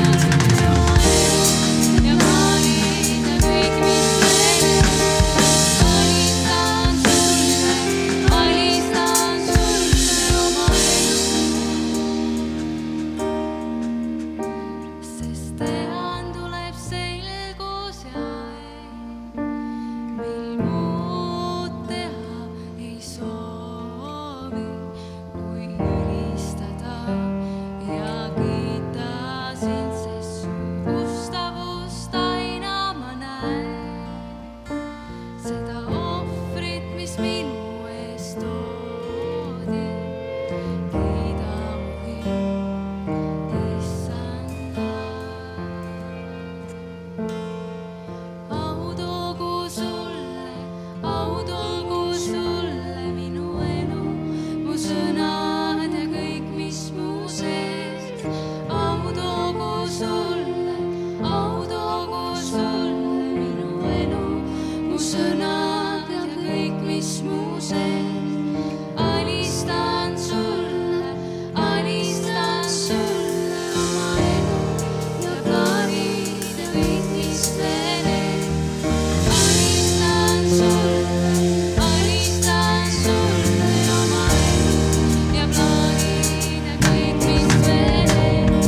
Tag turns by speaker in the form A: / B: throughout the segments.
A: ε, sulle, au toogu sulle minu elu, mu sõnad ja kõik, mis mu sees. alistan sulle, alistan sulle oma elu ja plaanid ja kõik, mis veel ees. alistan sulle, alistan sulle oma elu ja plaanid ja kõik, mis veel ees.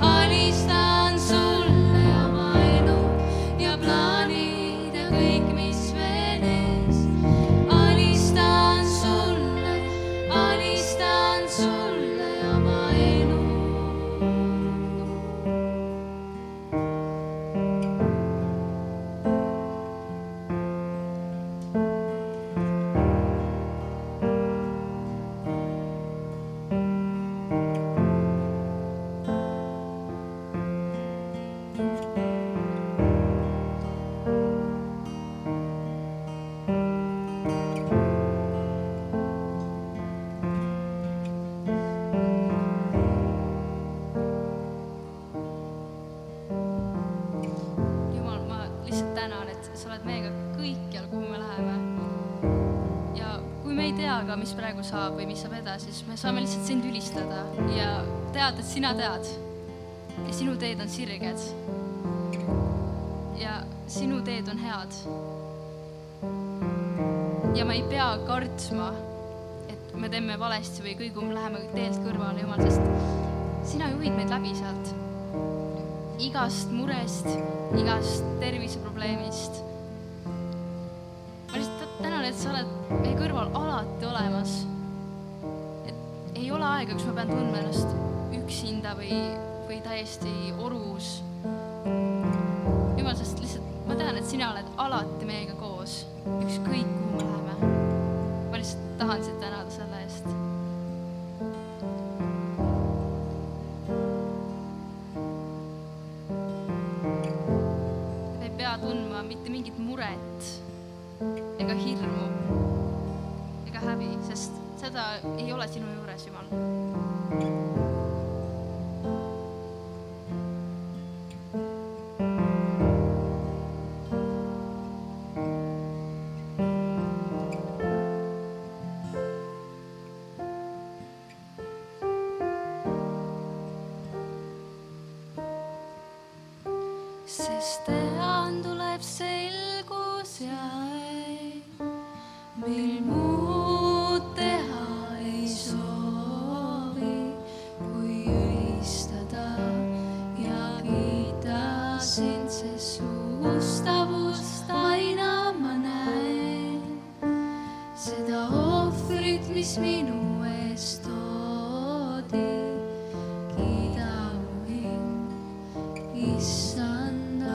A: Alistan sulle oma elu ja plaanid ja kõik, mis veel ees. Alistan sulle, alistan sulle oma elu.
B: jumal , ma lihtsalt tänan , et sa oled meiega kõikjal , kuhu me läheme . ja kui me ei tea ka , mis praegu saab või mis saab edasi , siis me saame lihtsalt sind ülistada ja teada , et sina tead . ja sinu teed on sirged . ja sinu teed on head . ja ma ei pea kartma , et me teeme valesti või kõigume , läheme teelt kõrvale , jumal , sest sina juhid meid läbi sealt igast murest , igast terviseprobleemist . ma lihtsalt tänan , et sa oled meie kõrval alati olemas . et ei ole aega , kus ma pean tundma ennast üksinda või , või täiesti orus . jumal , sest lihtsalt ma tean , et sina oled alati meiega koos , ükskõik kuhu me läheme . ma lihtsalt tahan sind tänada selle eest . me ei pea tundma mitte mingit muret ega hirmu ega häbi , sest seda ei ole sinu juures , Jumal .
A: sest tean , tuleb selgus ja ei , mil muud teha ei soovi , kui ülistada ja kiita sind , sest su ustavust aina ma näen . seda ohvrit , mis minu eest toodi , kiida mu hing . Issanda.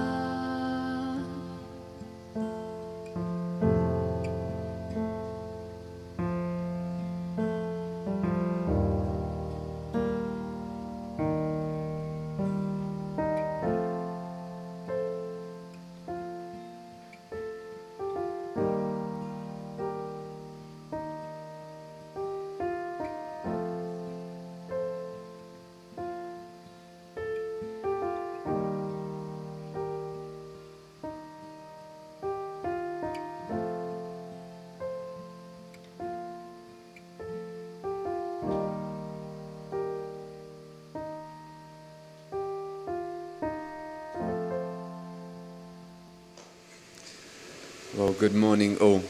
C: Well, good morning, all.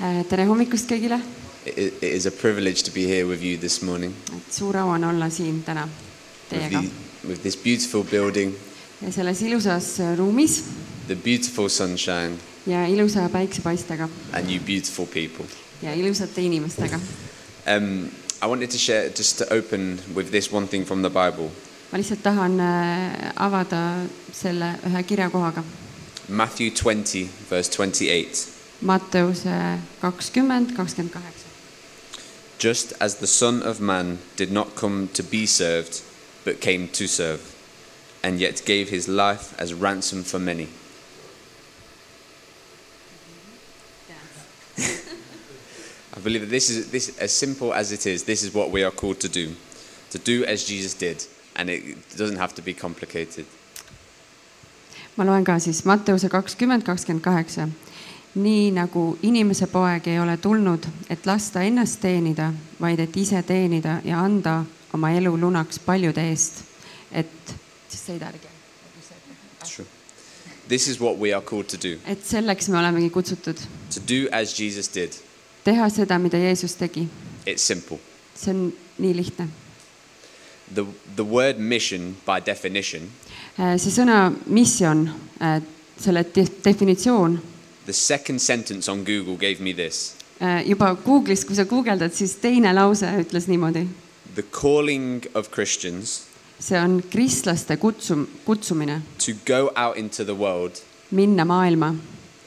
D: Äh, tere hommikust kõigile ,
C: It it is a privilege to be here with you this morning,
D: et suur au on olla siin täna
C: with,
D: teiega
C: the- with this beautiful building,
D: ja selles ilusas äh, ruumis
C: the beautiful sunshine,
D: ja ilusa päiksepaistega
C: and you beautiful people.
D: ja ilusate inimestega .
C: Um, I wanted to share, just to open with this one thing from the Bible
D: ma lihtsalt tahan äh, avada selle ühe kirjakohaga .
C: Matthew 20, verse 28.
D: Matteuse kakskümmend , kakskümmend kaheksa .
C: Just as the Son of Man did not come to be served, but came to serve, and yet gave his life as ransom for many. I believe that this is this as simple as it is. This is what we are called to do, to do as Jesus did, and it doesn't have to be complicated.
D: ma loen ka siis Matteuse kakskümmend , kakskümmend kaheksa . nii nagu inimese poeg ei ole tulnud , et lasta ennast teenida , vaid et ise teenida ja anda oma elu lunaks paljude eest . et , siis sõida järgi .
C: It's true. This is what we are called to do,
D: et selleks me olemegi kutsutud ,
C: to do as Jesus did.
D: teha seda , mida Jeesus tegi .
C: It's simple.
D: see on nii lihtne .
C: The the word mission, by definition,
D: Äh, see sõna mission , selle de- definitsioon
C: The second sentence on Google gave me this
D: eh, juba Google'is , kui sa guugeldad , siis teine lause ütles niimoodi .
C: The calling of Christians
D: see on kristlaste kutsum- , kutsumine
C: to go out into the world
D: minna maailma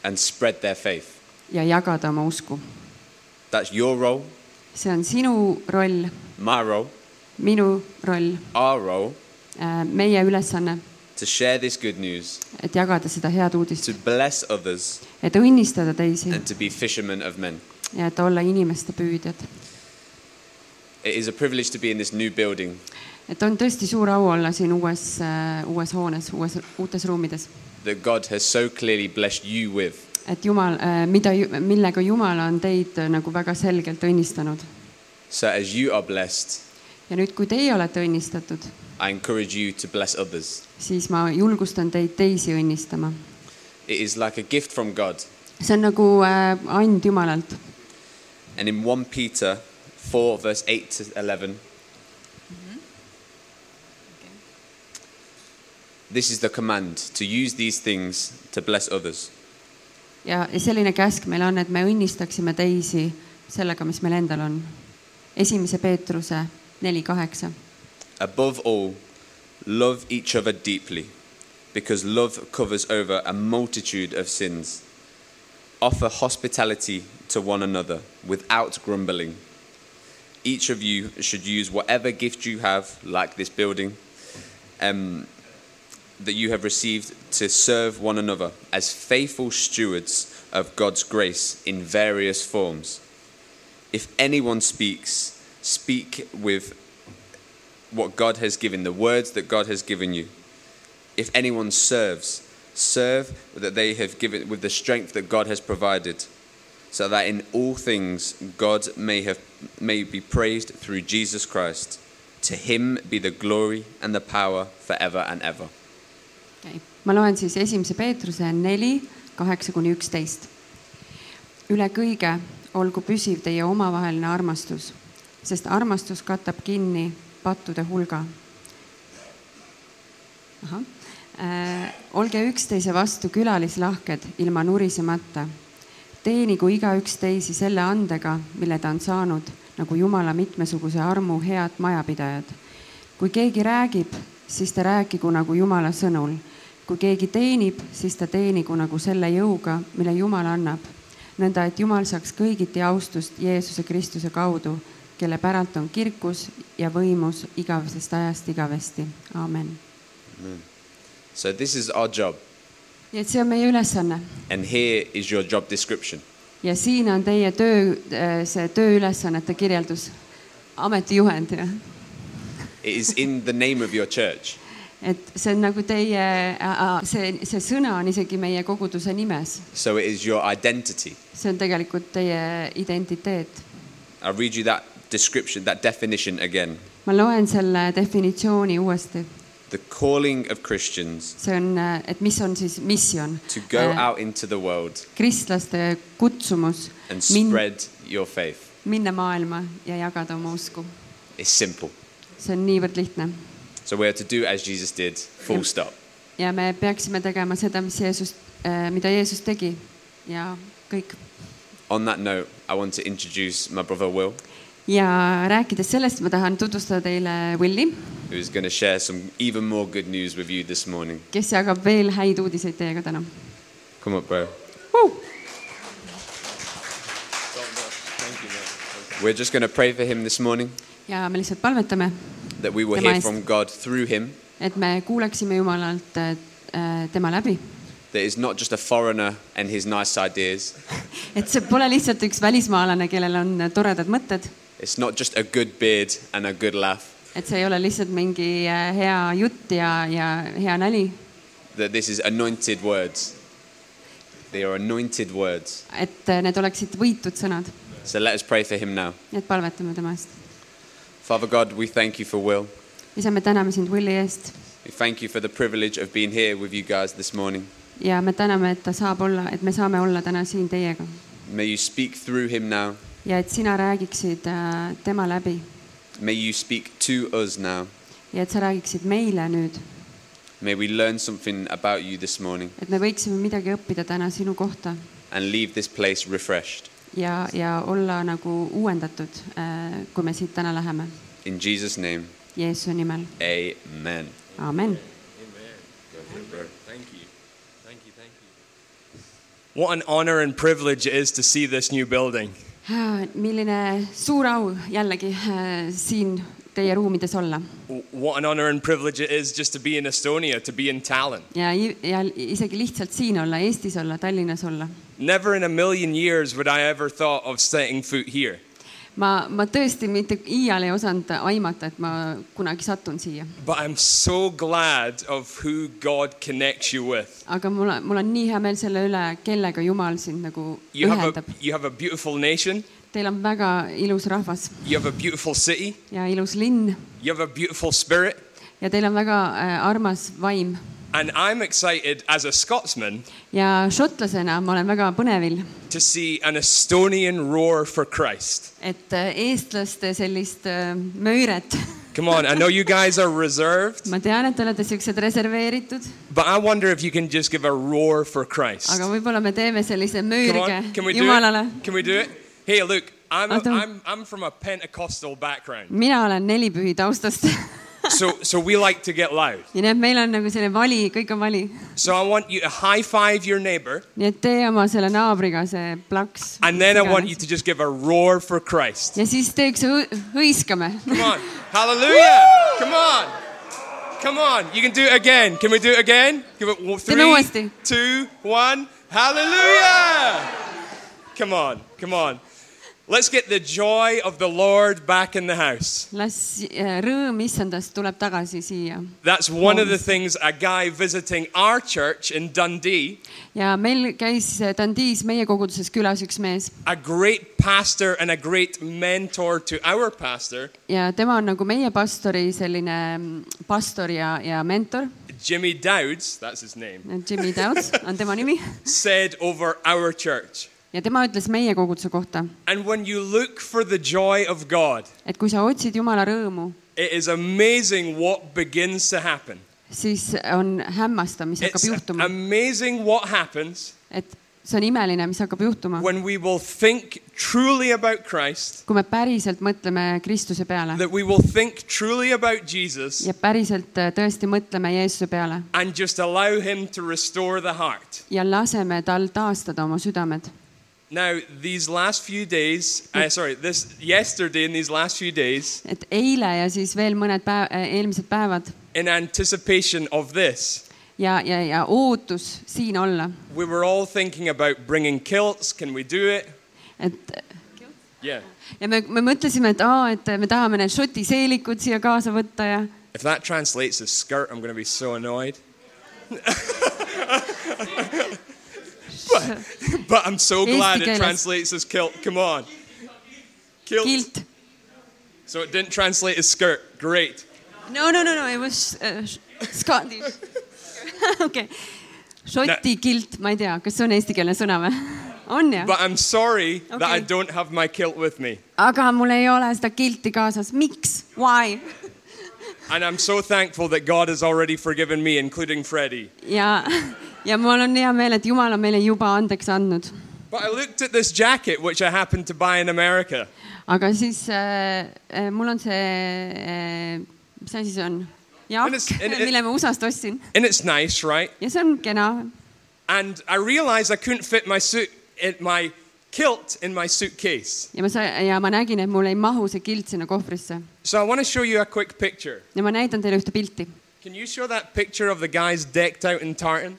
C: and spread their faith.
D: ja jagada oma usku .
C: That's your role,
D: see on sinu roll ,
C: my role,
D: minu roll ,
C: our role
D: meie ülesanne ,
C: to share this good news,
D: et jagada seda head uudist
C: to , bless others,
D: et õnnistada teisi
C: and to be fishermen of men.
D: ja et olla inimeste püüdjad .
C: It is a privilege to be in this new building.
D: et on tõesti suur au olla siin uues , uues hoones , uues , uutes ruumides .
C: That God has so clearly blessed you with.
D: et Jumal , mida , millega Jumal on teid äh, nagu väga selgelt õnnistanud .
C: So, as you are blessed,
D: ja nüüd , kui teie olete õnnistatud ,
C: I encourage you to bless others.
D: siis ma julgustan teid teisi õnnistama .
C: It is like a gift from God.
D: see on nagu äh, and Jumalalt
C: And in 1 Peter 4, verse 8 to 11, this is the command to use these things to bless others.
D: ja , ja selline käsk meil on , et me õnnistaksime teisi sellega , mis meil endal on . esimese Peetruse neli kaheksa .
C: Above all, love each other deeply, because love covers over a multitude of sins. Offer hospitality to one another without grumbling. Each of you should use whatever gift you have, like this building, um, that you have received to serve one another as faithful stewards of God's grace in various forms. If anyone speaks, speak with what God has given, the words that God has given you. If anyone serves, serve that they have given with the strength that God has provided, so that in all things God may have may be praised through Jesus Christ. To him be the glory and the power forever and ever.
D: ma loen siis esimese Peetruse neli kaheksa kuni üksteist . üle kõige olgu püsiv teie omavaheline armastus , sest armastus katab kinni pattude hulga . Äh, olge üksteise vastu külalislahked ilma nurisemata . teenigu igaüks teisi selle andega , mille ta on saanud , nagu Jumala mitmesuguse armu head majapidajad . kui keegi räägib , siis ta rääkigu nagu Jumala sõnul . kui keegi teenib , siis ta teenigu nagu selle jõuga , mille Jumal annab nõnda et Jumal saaks kõigiti austust Jeesuse Kristuse kaudu , kelle päralt on kirkus ja võimus igavesest ajast igavesti , aamen .
C: So this is our job,
D: nii et see on meie ülesanne
C: and here is your job description.
D: ja siin on teie töö , see tööülesannete kirjeldus , ametijuhend , jah .
C: It is in the name of your church.
D: et see on nagu teie , see , see sõna on isegi meie koguduse nimes ,
C: So it is your identity.
D: see on tegelikult teie identiteet .
C: I'll read you that description, that definition again.
D: ma loen selle definitsiooni uuesti ,
C: The calling of Christians
D: see on , et mis on siis missioon Äh,
C: to go
D: Uh,
C: out into the world
D: kristlaste kutsumus
C: and
D: min,
C: spread your faith.
D: minna maailma ja jagada oma usku .
C: It's simple.
D: see on niivõrd lihtne
C: So we are to do as Jesus did, full stop.
D: ja me peaksime tegema seda , mis Jeesus , mida Jeesus tegi ja kõik .
C: On that note, I want to introduce my brother Will,
D: ja rääkides sellest , ma tahan tutvustada teile Willi ,
C: who is going to share some even more good news with you this morning.
D: kes jagab veel häid uudiseid teiega täna
C: Come up, bro.
D: uh! .
C: We're just going to pray for him this morning
D: ja me lihtsalt palvetame ,
C: that we will
D: Tema
C: hear
D: eest.
C: from God through him,
D: et me kuuleksime Jumalalt äh, äh, tema läbi .
C: that is not just a foreigner and his nice ideas.
D: et see pole lihtsalt üks välismaalane , kellel on toredad mõtted ,
C: It's not just a good beard and a good laugh.
D: et see ei ole lihtsalt mingi äh, hea jutt ja , ja hea nali ,
C: That this is anointed words. They are anointed words.
D: et äh, need oleksid võitud sõnad .
C: So let us pray for him now.
D: nii et palvetame tema eest .
C: Father God, we thank you for Will.
D: isa , me täname sind Willi eest
C: We thank you for the privilege of being here with you guys this morning.
D: ja me täname , et ta saab olla , et me saame olla täna siin teiega
C: May you speak through him now.
D: ja et sina räägiksid äh, tema läbi
C: May you speak to us now.
D: ja et sa räägiksid meile nüüd ,
C: May we learn something about you this morning
D: et me võiksime midagi õppida täna sinu kohta
C: and leave this place refreshed.
D: ja , ja olla nagu uuendatud , kui me siit täna läheme .
C: In Jesus' name,
D: Jeesuse nimel ,
C: amen.
D: aamen .
E: What an honor and privilege it is to see this new building.
D: milline suur au jällegi äh, siin teie ruumides olla
E: W- What an honor and privilege it is just to be in Estonia, to be in Tallinn.
D: ja , ja isegi lihtsalt siin olla , Eestis olla , Tallinnas olla .
E: Never in a million years would I ever thought of setting foot here.
D: ma , ma tõesti mitte iial ei osanud aimata , et ma kunagi satun siia ,
E: But I'm so glad of who God connects you with.
D: aga mul , mul on nii hea meel selle üle , kellega Jumal sind nagu
E: You have, a,
D: ühendab .
E: you have a beautiful nation,
D: Teil on väga ilus rahvas
E: you have a beautiful city,
D: ja ilus linn
E: you have a beautiful spirit.
D: ja teil on väga äh, armas vaim
E: And I'm excited as a Scotsman
D: ja šotlasena ma olen väga põnevil ,
E: to see an Estonian roar for Christ.
D: et äh, eestlaste sellist äh, möiret ,
E: Come on, I know you guys are reserved,
D: ma tean , et te olete siuksed reserveeritud ,
E: but I wonder if you can just give a roar for Christ.
D: aga võib-olla me teeme sellise
E: Come
D: möürige
E: on, can we do
D: Jumalale .
E: it? Can we do it? Hey, look, I'm, a,
D: I'll do it.
E: I'm, I'm from a Pentecostal background,
D: mina olen nelipühi taustast ja
E: so, so we like to get loud.
D: nii et meil on nagu selline vali , kõik on vali .
E: So I want you to high five your neighbor,
D: nii et tee oma selle naabriga see plaks .
E: and then I want you to just give a roar for Christ.
D: ja siis teeks hõ- hõiskame .
E: Come on, hallelujah! Come on, come on, you can do it again. Can we do it again? Give it one,
D: Then I want
E: three,
D: to.
E: two, one, hallelujah! Come on, come on. Let's get the joy of the Lord back in the house.
D: las äh, rõõm issandast tuleb tagasi siia
E: That's one of the things a guy visiting our church in Dundee,
D: ja meil käis äh, Dundee's meie koguduses külas üks mees
E: a great pastor and a great mentor to our pastor,
D: ja tema on nagu meie pastori selline mm, pastor ja , ja mentor ,
E: Jimmy Dowds, that's his name,
D: Jimmy Dowds on tema nimi
E: said over our church.
D: ja tema ütles meie koguduse kohta ,
E: And when you look for the joy of God,
D: et kui sa otsid Jumala rõõmu ,
E: it is amazing what begins to happen.
D: siis on hämmastav , mis hakkab
E: It's
D: juhtuma ,
E: amazing what happens
D: et see on imeline , mis hakkab juhtuma ,
E: when we will think truly about Christ,
D: kui me päriselt mõtleme Kristuse peale
E: that we will think truly about Jesus,
D: ja päriselt äh, tõesti mõtleme Jeesuse peale
E: and just allow Him to restore the heart.
D: ja laseme tal taastada oma südamed .
E: Now, these last few days, uh, sorry, this yesterday and these last few days,
D: et eile ja siis veel mõned päev , eelmised päevad
E: in anticipation of this,
D: ja , ja , ja ootus siin olla ,
E: we were all thinking about bringing kilts. Can we do it?
D: et
E: Yeah.
D: ja me , me mõtlesime , et aa , et me tahame need šoti seelikud siia kaasa võtta ja ,
E: If that translates as skirt, I'm going to be so annoyed. but, but I'm so
D: Yes,
E: glad it
D: Miguelas.
E: translates as kilt. Come on. Kilt.
D: kilt .
E: So it didn't translate as skirt. Great.
D: no , no , no , no , it was uh, Scottish . okei , šoti kilt , ma ei tea , kas see on eestikeelne sõna või ? on jah ?
E: But I'm sorry that I
D: Okay.
E: don't have my kilt with me.
D: aga mul ei ole seda kilti kaasas , miks , why ?
E: And I'm so thankful that God has already forgiven me, including Freddie.
D: ja , ja mul on hea meel , et Jumal on meile juba andeks andnud .
E: But I looked at this jacket, which I happened to buy in America.
D: aga siis äh, äh, mul on see äh, , mis asi see on ?
E: And
D: jakk
E: it's- and it- ,
D: mille ma USA-st ostsin
E: And it's nice, right?
D: ja see on kena
E: And I realized I couldn't fit my suit, in my kilt in my suitcase.
D: ja ma sain ja ma nägin , et mul ei mahu see kilt sinna kohvrisse
E: So I want to show you a quick picture.
D: ja ma näitan teile ühte pilti .
E: Can you show that picture of the guys decked out in tartan?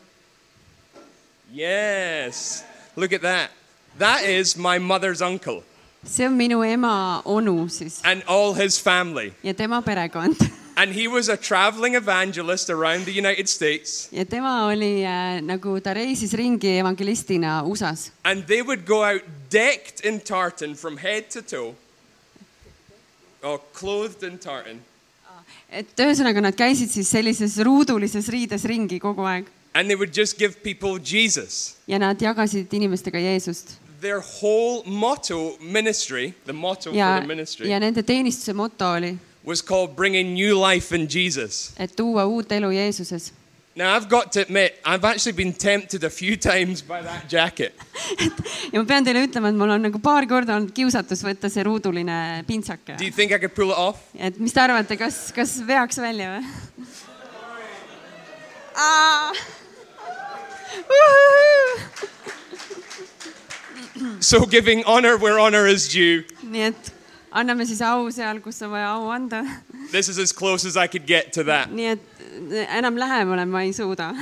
E: Yes. Look at that. That is my mother's uncle
D: see on minu ema onu siis
E: and all his family.
D: ja tema perekond
E: And he was a traveling evangelist around the United States.
D: ja tema oli äh, nagu ta reisis ringi evangelistina USA-s
E: And they would go out decked in tartan from head to toe, or clothed in tartan.
D: et ühesõnaga nad käisid siis sellises ruudulises riides ringi kogu aeg
E: And they would just give people Jesus.
D: ja nad jagasid inimestega Jeesust
E: Their whole motto, ministry, the motto
D: ja
E: for the ministry,
D: ja nende teenistuse moto oli ,
E: was called bringing new life in Jesus.
D: et tuua uut elu Jeesuses .
E: Now, I've got to admit, I've actually been tempted a few times by that jacket.
D: ja ma pean teile ütlema , et mul on nagu paar korda olnud kiusatus võtta see ruuduline pintsake
E: Do you think I could pull it off?
D: et mis te arvate , kas , kas veaks välja või ?
E: So, giving honor where honor is due,
D: nii et anname siis au seal , kus on vaja au anda .
E: this is as close as I could get to that.
D: nii et enam lähemale ma ei suuda .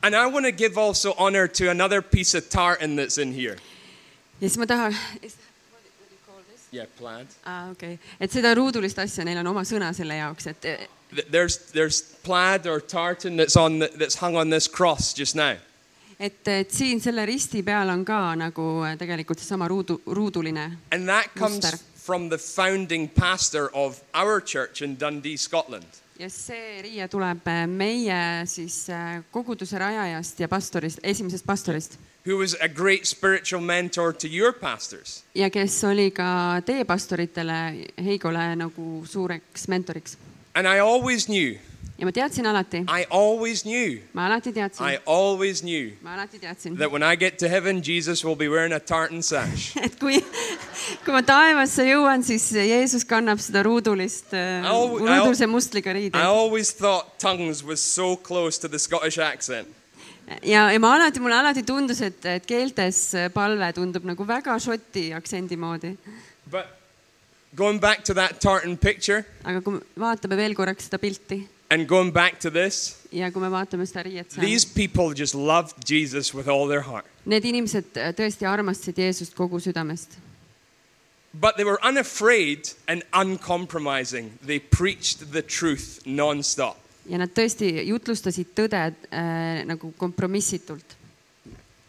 E: And I want to give also honor to another piece of tartan that's in here.
D: ja siis ma tahan ,
E: Yeah, plaid.
D: aa okei okay. , et seda ruudulist asja , neil on oma sõna selle jaoks , et
E: Th- There's, there's plaid or tartan that's, on the, that's hung on this cross just now.
D: et , et siin selle risti peal on ka nagu tegelikult seesama ruudu , ruuduline
E: And that comes
D: Muster.
E: from the founding pastor of our church in Dundee, Scotland.
D: ja see riie tuleb äh, meie siis äh, koguduse rajajast ja pastorist , esimesest pastorist
E: who was a great spiritual mentor to your pastors.
D: ja kes oli ka teie pastoritele , Heigole nagu suureks mentoriks .
E: And I always knew,
D: ja ma teadsin alati ,
E: I always knew,
D: ma alati teadsin
E: I , always knew
D: ma alati teadsin ,
E: that when I get to heaven, Jesus will be wearing a tartan sash.
D: et kui , kui ma taevasse jõuan , siis Jeesus kannab seda ruudulist äh,
E: Au- , au-
D: ruudulise mustriga
E: I
D: riide .
E: always thought tongues was so close to the Scottish accent.
D: ja , ja ma alati , mulle alati tundus , et , et keeltes palve tundub nagu väga šoti aktsendi moodi .
E: But going back to that tartan picture
D: aga kui me vaatame veel korraks seda pilti
E: and going back to this,
D: ja kui me vaatame seda riiet seal
E: these , people just loved Jesus with all their heart.
D: need inimesed äh, tõesti armastasid Jeesust kogu südamest
E: But they were unafraid and uncompromising. They preached the truth nonstop.
D: ja nad tõesti jutlustasid tõde äh, nagu kompromissitult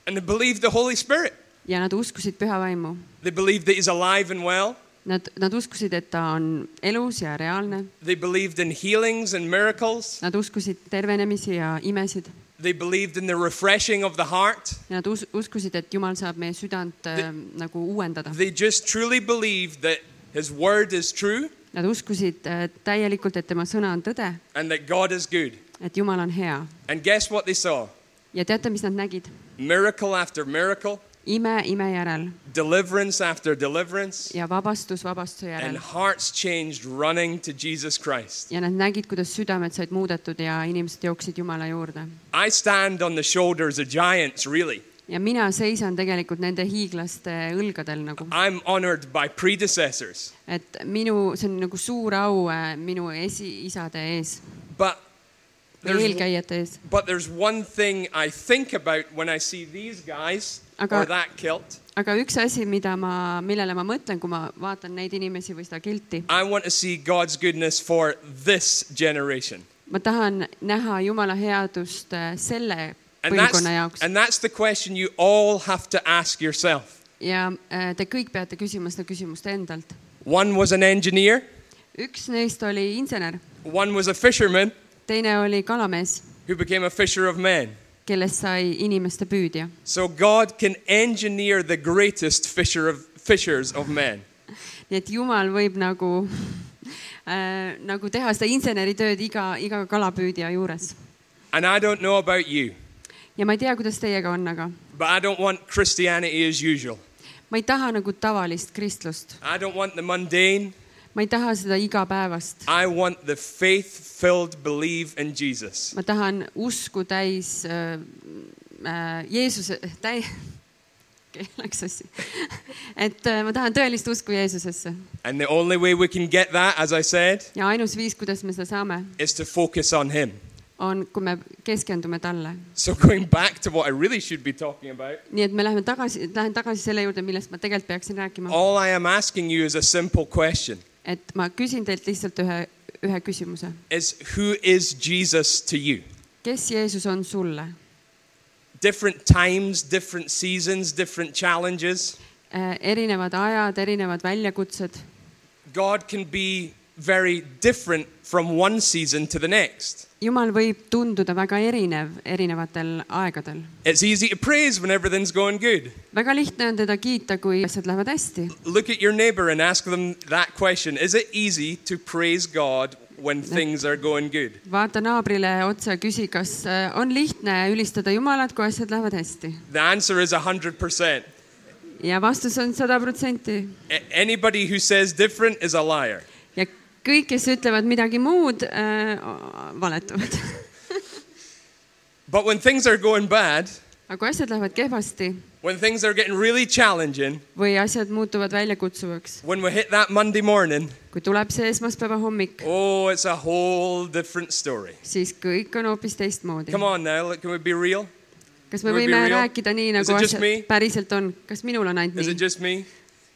E: And they believed the Holy Spirit.
D: ja nad uskusid püha vaimu .
E: They believed that he's alive and well.
D: Nad , nad uskusid , et ta on elus ja reaalne ,
E: They believed in healings and miracles.
D: nad uskusid tervenemisi ja imesid
E: They believed in the refreshing of the heart.
D: ja nad us, uskusid , et Jumal saab meie südant äh, nagu uuendada .
E: They just truly believed that his word is true
D: Nad uskusid äh, täielikult , et tema sõna on tõde ,
E: and that God is good.
D: et Jumal on hea
E: And guess what they saw?
D: ja teate , mis nad nägid ?
E: Miracle after miracle,
D: ime ime järel
E: deliverance after deliverance,
D: ja vabastus vabastuse
E: and
D: järel
E: hearts changed running to Jesus Christ.
D: ja nad nägid , kuidas südamed said muudetud ja inimesed jooksid Jumala juurde
E: I stand on the shoulders of giants, really.
D: ja mina seisan tegelikult nende hiiglaste õlgadel nagu ,
E: I'm honored by predecessors.
D: et minu , see on nagu suur au äh, minu esiisade ees ,
E: But there's
D: eelkäijate ees ,
E: But there's one thing I think about when I see these guys
D: Aga-
E: or that kilt.
D: aga üks asi , mida ma , millele ma mõtlen , kui ma vaatan neid inimesi või seda kilti ,
E: I want to see God's goodness for this generation.
D: ma tahan näha Jumala headust äh, selle
E: And that's,
D: põlvkonna jaoks
E: and that's the question you all have to ask yourself.
D: ja äh, te kõik peate küsima seda küsimust endalt .
E: One was an engineer,
D: üks neist oli insener ,
E: one was a fisherman
D: teine oli kalamees ,
E: who became a fisher of men.
D: kellest sai inimeste püüdja
E: So God can engineer the greatest fisher of, fishers of men.
D: nii et jumal võib nagu äh, , nagu teha seda inseneritööd iga , iga kalapüüdja juures .
E: And I don't know about you,
D: ja ma ei tea , kuidas teiega on , aga
E: but I don't want Christianity as usual.
D: ma ei taha nagu tavalist kristlust ,
E: I don't want the mundane.
D: ma ei taha seda igapäevast .
E: I want the faith filled belief in Jesus.
D: ma tahan usku täis äh, äh, Jeesuse , täi- , okei okay, , läks sassi . et äh, ma tahan tõelist usku Jeesusesse
E: And the only way we can get that, as I said,
D: ja ainus viis , kuidas me seda saame ,
E: is to focus on Him.
D: on , kui me keskendume talle .
E: So, going back to what I really should be talking about,
D: nii et me läheme tagasi , lähen tagasi selle juurde , millest ma tegelikult peaksin rääkima .
E: all I am asking you is a simple question
D: et ma küsin teilt lihtsalt ühe , ühe küsimuse .
E: is who is Jesus to you?
D: kes Jeesus on sulle ?
E: Different times, different seasons, different challenges.
D: Äh, erinevad ajad , erinevad väljakutsed .
E: God can be very different from one season to the next.
D: jumal võib tunduda väga erinev erinevatel aegadel .
E: It's easy to praise when everything's going good.
D: väga lihtne on teda kiita , kui asjad lähevad hästi .
E: Look at your neighbor and ask them that question Is it easy to praise God when things are going good?
D: vaata naabrile otsa ja küsi , kas äh, on lihtne ülistada Jumalat , kui asjad lähevad hästi .
E: The answer is 100%.
D: ja vastus on sada protsenti .
E: A- Anybody who says different is a liar.
D: ja kõik , kes ütlevad midagi muud äh, , valetavad .
E: But when things are going bad,
D: aga kui asjad lähevad kehvasti
E: when things are getting really challenging,
D: või asjad muutuvad väljakutsuvaks ,
E: when we hit that Monday morning,
D: kui tuleb see esmaspäeva hommik ,
E: oh, it's a whole different story.
D: siis kõik on hoopis teistmoodi
E: Come on now, look, can we be real?
D: kas me
E: Would be
D: võime
E: real?
D: rääkida nii ,
E: Is
D: nagu
E: it just
D: asjad
E: me?
D: päriselt on , kas minul on ainult
E: Is it
D: nii ?
E: just me?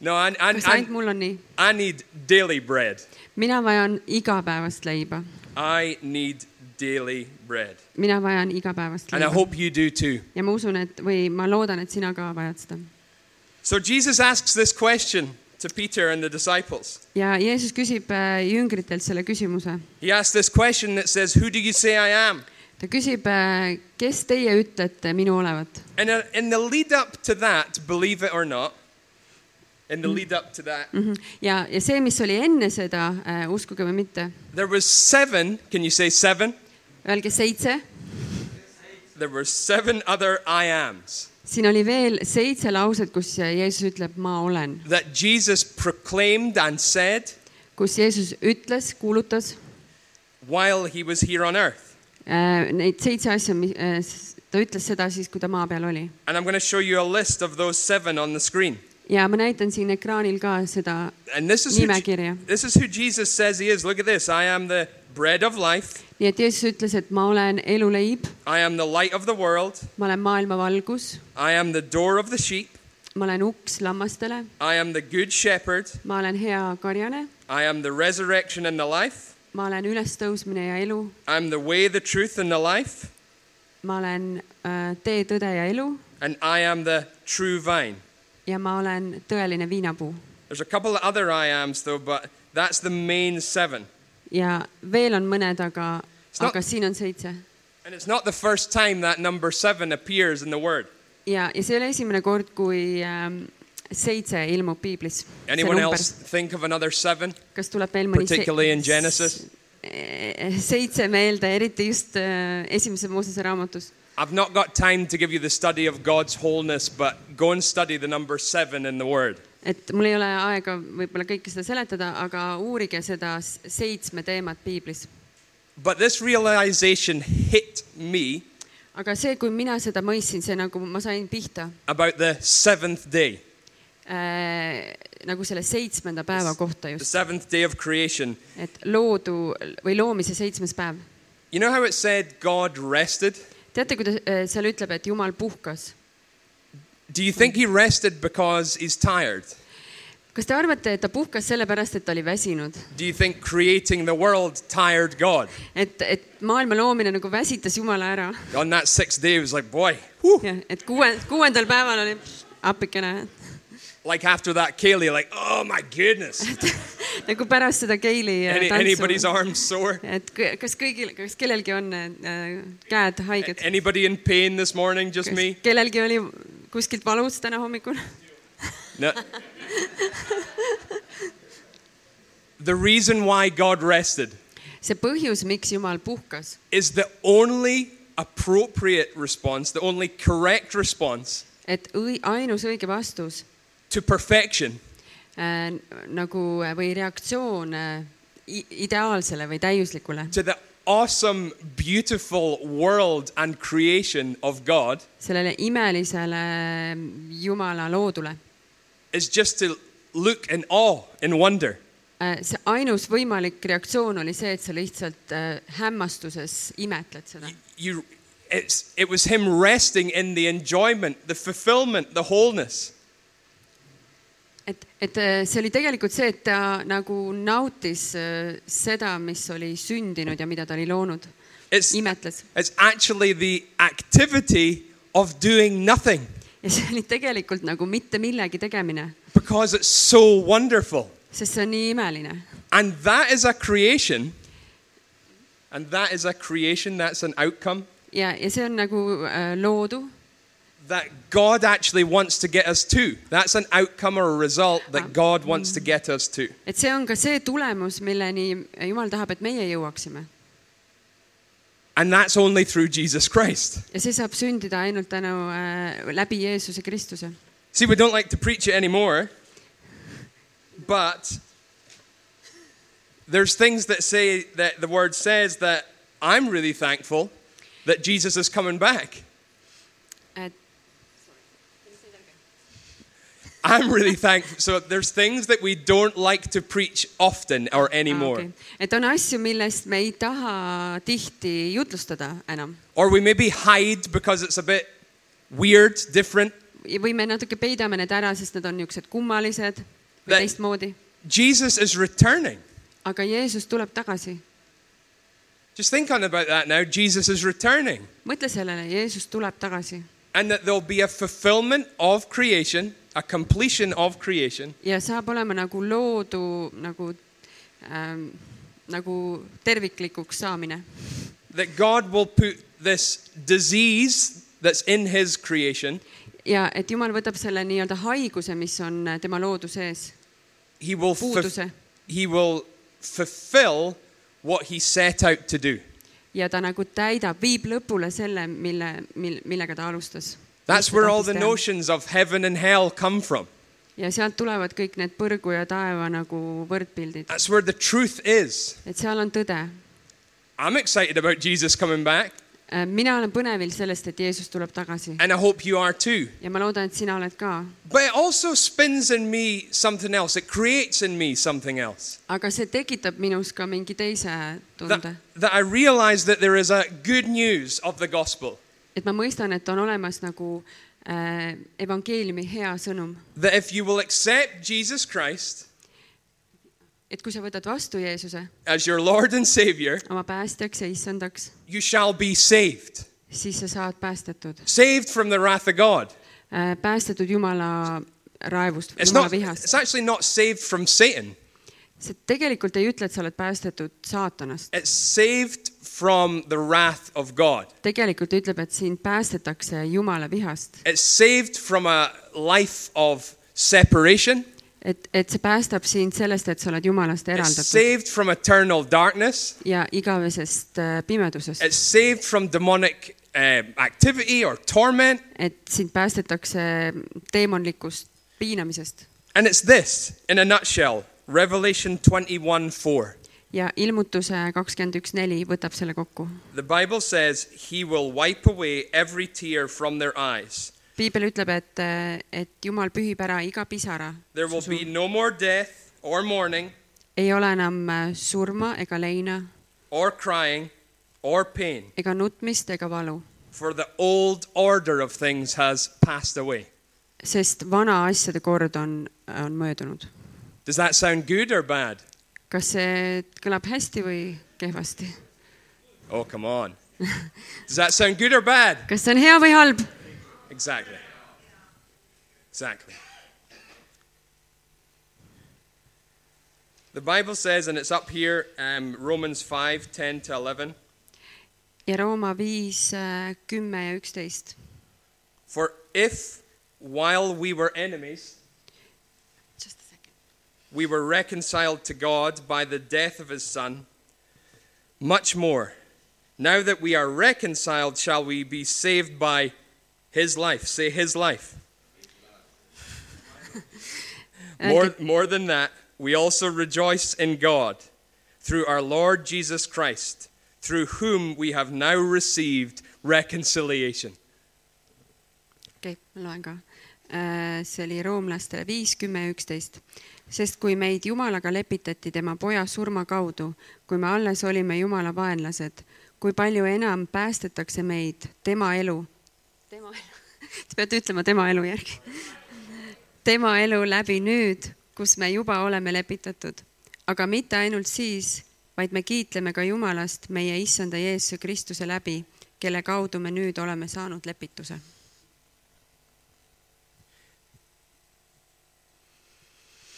E: No, I, I,
D: kas
E: I,
D: ainult mul on nii ?
E: I need daily bread.
D: mina vajan igapäevast leiba ,
E: I need daily bread.
D: mina vajan igapäevast
E: And I
D: leiba
E: hope you do too.
D: ja ma usun , et või ma loodan , et sina ka vajad seda .
E: So Jesus asks this question to Peter and the disciples.
D: ja Jeesus küsib äh, jüngritelt selle küsimuse .
E: He asks this question that says, Who do you say I am?
D: ta küsib , kes teie ütlete minu olevat
E: And uh, in the lead up to that, believe it or not, in the lead up to that,
D: Mhm. ja , ja see , mis oli enne seda , uskuge või mitte ,
E: there was seven, can you say seven?
D: öelge seitse ,
E: There were seven other I ams
D: siin oli veel seitse lauset , kus Jeesus ütleb , ma olen ,
E: that Jesus proclaimed and said
D: kus Jeesus ütles , kuulutas
E: while he was here on earth.
D: Äh, neid seitse asja , ta ütles seda siis , kui ta maa peal oli .
E: And I'm going to show you a list of those seven on the screen.
D: ja ma näitan siin ekraanil ka seda ,
E: And this is, who,
D: Nimekirja.
E: this is who Jesus says he is. Look at this. I am the bread of life.
D: nii et Jeesus ütles , et ma olen eluleib ,
E: I am the light of the world.
D: ma olen maailma valgus ,
E: I am the door of the sheep.
D: ma olen uks lammastele ,
E: I am the good shepherd.
D: ma olen hea karjane ,
E: I am the resurrection and the life.
D: ma olen ülestõusmine ja elu ,
E: I'm the way, the truth, and the life.
D: ma olen äh, tee , tõde ja elu
E: And I am the true vine.
D: ja ma olen tõeline viinapuu .
E: There's a couple of other I ams, though, but that's the main seven.
D: ja veel on mõned , aga ,
E: Stop.
D: aga siin on seitse .
E: And it's not the first time that number seven appears in the Word.
D: ja , ja see oli esimene kord , kui äh, seitse ilmub piiblis .
E: Anyone else think of another seven?
D: kas tuleb veel mõni se-
E: Particularly in Genesis?
D: Eh, seitse meelde , eriti just eh, esimese Moosese raamatus .
E: I've not got time to give you the study of God's wholeness, but go and study the number seven in the Word.
D: et mul ei ole aega võib-olla kõike seda seletada , aga uurige seda s- seitsme teemat piiblis .
E: But this realization hit me
D: aga see , kui mina seda mõistsin , see nagu ma sain pihta
E: about the seventh day,
D: eh, nagu selle seitsmenda päeva kohta
E: the
D: just ,
E: seventh day of creation.
D: et loodu või loomise seitsmes päev .
E: You know how it said God rested?
D: teate , kuidas eh, seal ütleb , et Jumal puhkas ?
E: Do you think he rested because he's tired?
D: kas te arvate , et ta puhkas sellepärast , et ta oli väsinud ?
E: Do you think creating the world tired God?
D: et , et maailma loomine nagu väsitas Jumala ära
E: On that sixth day, he was like, boy, whew,
D: jah , et kuue , kuuendal päeval oli appikene .
E: like after that Kaylee, like, oh my goodness,
D: nagu pärast seda Keili äh,
E: Any, anybody's
D: tantsu ,
E: arms sore?
D: et kõ- kas kõigil , kas kellelgi on äh, käed haiged ?
E: Anybody in pain this morning? Just Äh, me?
D: kellelgi oli kuskilt valus täna hommikul ?
E: No. the reason why God rested
D: see põhjus , miks Jumal puhkas ,
E: is the only appropriate response, the only correct response
D: et õi- , ainus õige vastus
E: to perfection
D: äh, nagu või reaktsioon äh, i- äh, ideaalsele või täiuslikule ,
E: to the awesome, beautiful world and creation of God
D: sellele imelisele äh, Jumala loodule .
E: is just to look in awe and wonder.
D: äh, see ainus võimalik reaktsioon oli see , et sa lihtsalt äh, hämmastuses imetled seda .
E: You, it's, it was him resting in the enjoyment, the fulfillment, the wholeness.
D: et , et äh, see oli tegelikult see , et ta nagu nautis äh, seda , mis oli sündinud ja mida ta oli loonud ,
E: It's,
D: imetles .
E: it's actually the activity of doing nothing
D: ja see oli tegelikult nagu mitte millegi tegemine ,
E: because it's so wonderful.
D: sest see on nii imeline .
E: And that is a creation. And that is a creation, that's an outcome
D: ja , ja see on nagu äh, loodu
E: that God actually wants to get us to. That's an outcome or a result that God wants to get us to.
D: et see on ka see tulemus , milleni Jumal tahab , et meie jõuaksime
E: And that's only through Jesus Christ.
D: ja see saab sündida ainult tänu äh, , läbi Jeesuse Kristuse .
E: See, we don't like to preach it anymore, but there's things that say that the word says that I'm really thankful that Jesus is coming back.
D: et
E: I'm really thankful. So there's things that we don't like to preach often or anymore.
D: okay. äh, et on asju , millest me ei taha tihti jutlustada enam
E: Or we maybe hide because it's a bit weird, different.
D: või me natuke peidame need ära , sest nad on niisugused kummalised või
E: That-
D: teistmoodi .
E: Jesus is returning.
D: aga Jeesus tuleb tagasi .
E: Just think on about that now. Jesus is returning.
D: mõtle sellele , Jeesus tuleb tagasi
E: And that there'll be a fulfillment of creation, a completion of creation,
D: ja saab olema nagu loodu nagu ähm, , nagu terviklikuks saamine .
E: that God will put this disease that's in his creation,
D: ja et Jumal võtab selle nii-öelda haiguse , mis on äh, tema loodu sees ,
E: he will, fu-
D: puuduse
E: he will fulfill what he set out to do.
D: ja ta nagu täidab , viib lõpule selle , mille , mil- , millega ta alustas .
E: That's where all the notions of heaven and hell come from.
D: ja sealt tulevad kõik need põrgu ja taeva nagu võrdpildid ,
E: That's where the truth is.
D: et seal on tõde .
E: I'm excited about Jesus coming back,
D: Äh, mina olen põnevil sellest , et Jeesus tuleb tagasi
E: and I hope you are too.
D: ja ma loodan , et sina oled ka ,
E: But it also spins in me something else. It creates in me something else.
D: aga see tekitab minus ka mingi teise
E: That,
D: tunde ,
E: that I realize that there is a good news of the gospel.
D: et ma mõistan , et on olemas nagu äh, evangeeliumi hea sõnum ,
E: That if you will accept Jesus Christ
D: et kui sa võtad vastu Jeesuse
E: as your Lord and Savior,
D: oma päästjaks ja issandaks ,
E: you shall be saved.
D: siis sa saad päästetud
E: Saved from the wrath of God.
D: Äh, päästetud Jumala raevust ,
E: It's,
D: Jumala
E: not,
D: vihast
E: it's . actually not saved from Satan,
D: see tegelikult ei ütle , et sa oled päästetud saatanast ,
E: it's saved from the wrath of God.
D: tegelikult ütleb , et sind päästetakse Jumala vihast ,
E: It's saved from a life of separation.
D: et , et see päästab sind sellest , et sa oled Jumalast
E: It's
D: eraldatud
E: saved from eternal darkness.
D: ja igavesest äh, pimedusest ,
E: It's saved from demonic uh, activity or torment.
D: et sind päästetakse teemonlikust piinamisest
E: And it's this, in a nutshell Revelation 21 4.
D: ja ilmutuse kakskümmend üks neli võtab selle kokku .
E: The Bible says, He will wipe away every tear from their eyes.
D: piibel ütleb , et , et Jumal pühib ära iga pisara .
E: There will be no more death or mourning
D: ei ole enam äh, surma ega leina
E: or crying or pain,
D: ega nutmist ega valu ,
E: for the old order of things has passed away.
D: sest vana asjade kord on , on möödunud .
E: Does that sound good or bad?
D: kas see kõlab hästi või kehvasti ?
E: Oh, come on. Does that sound good or bad?
D: kas see on hea või halb ?
E: Exactly. Exactly. The Bible says, and it's up here, um, Romans 5 10 to 11.
D: ja Rooma viis , kümme ja üksteist .
E: For if while we were enemies, we were reconciled to God by the death of his Son, much more, now that we are reconciled, shall we be saved by his life. Say his life. More, more than that, we also rejoice in God through our Lord Jesus Christ, through whom we have now received reconciliation.
D: okei okay, , ma loen ka . Äh, see oli roomlastele viis , kümme , üksteist . sest kui meid Jumalaga lepitati tema poja surma kaudu , kui me alles olime Jumala vaenlased , kui palju enam päästetakse meid tema elu , tema elu , te peate ütlema tema elu järgi , tema elu läbi nüüd , kus me juba oleme lepitatud . aga mitte ainult siis , vaid me kiitleme ka Jumalast meie issanda Jeesuse Kristuse läbi , kelle kaudu me nüüd oleme saanud lepituse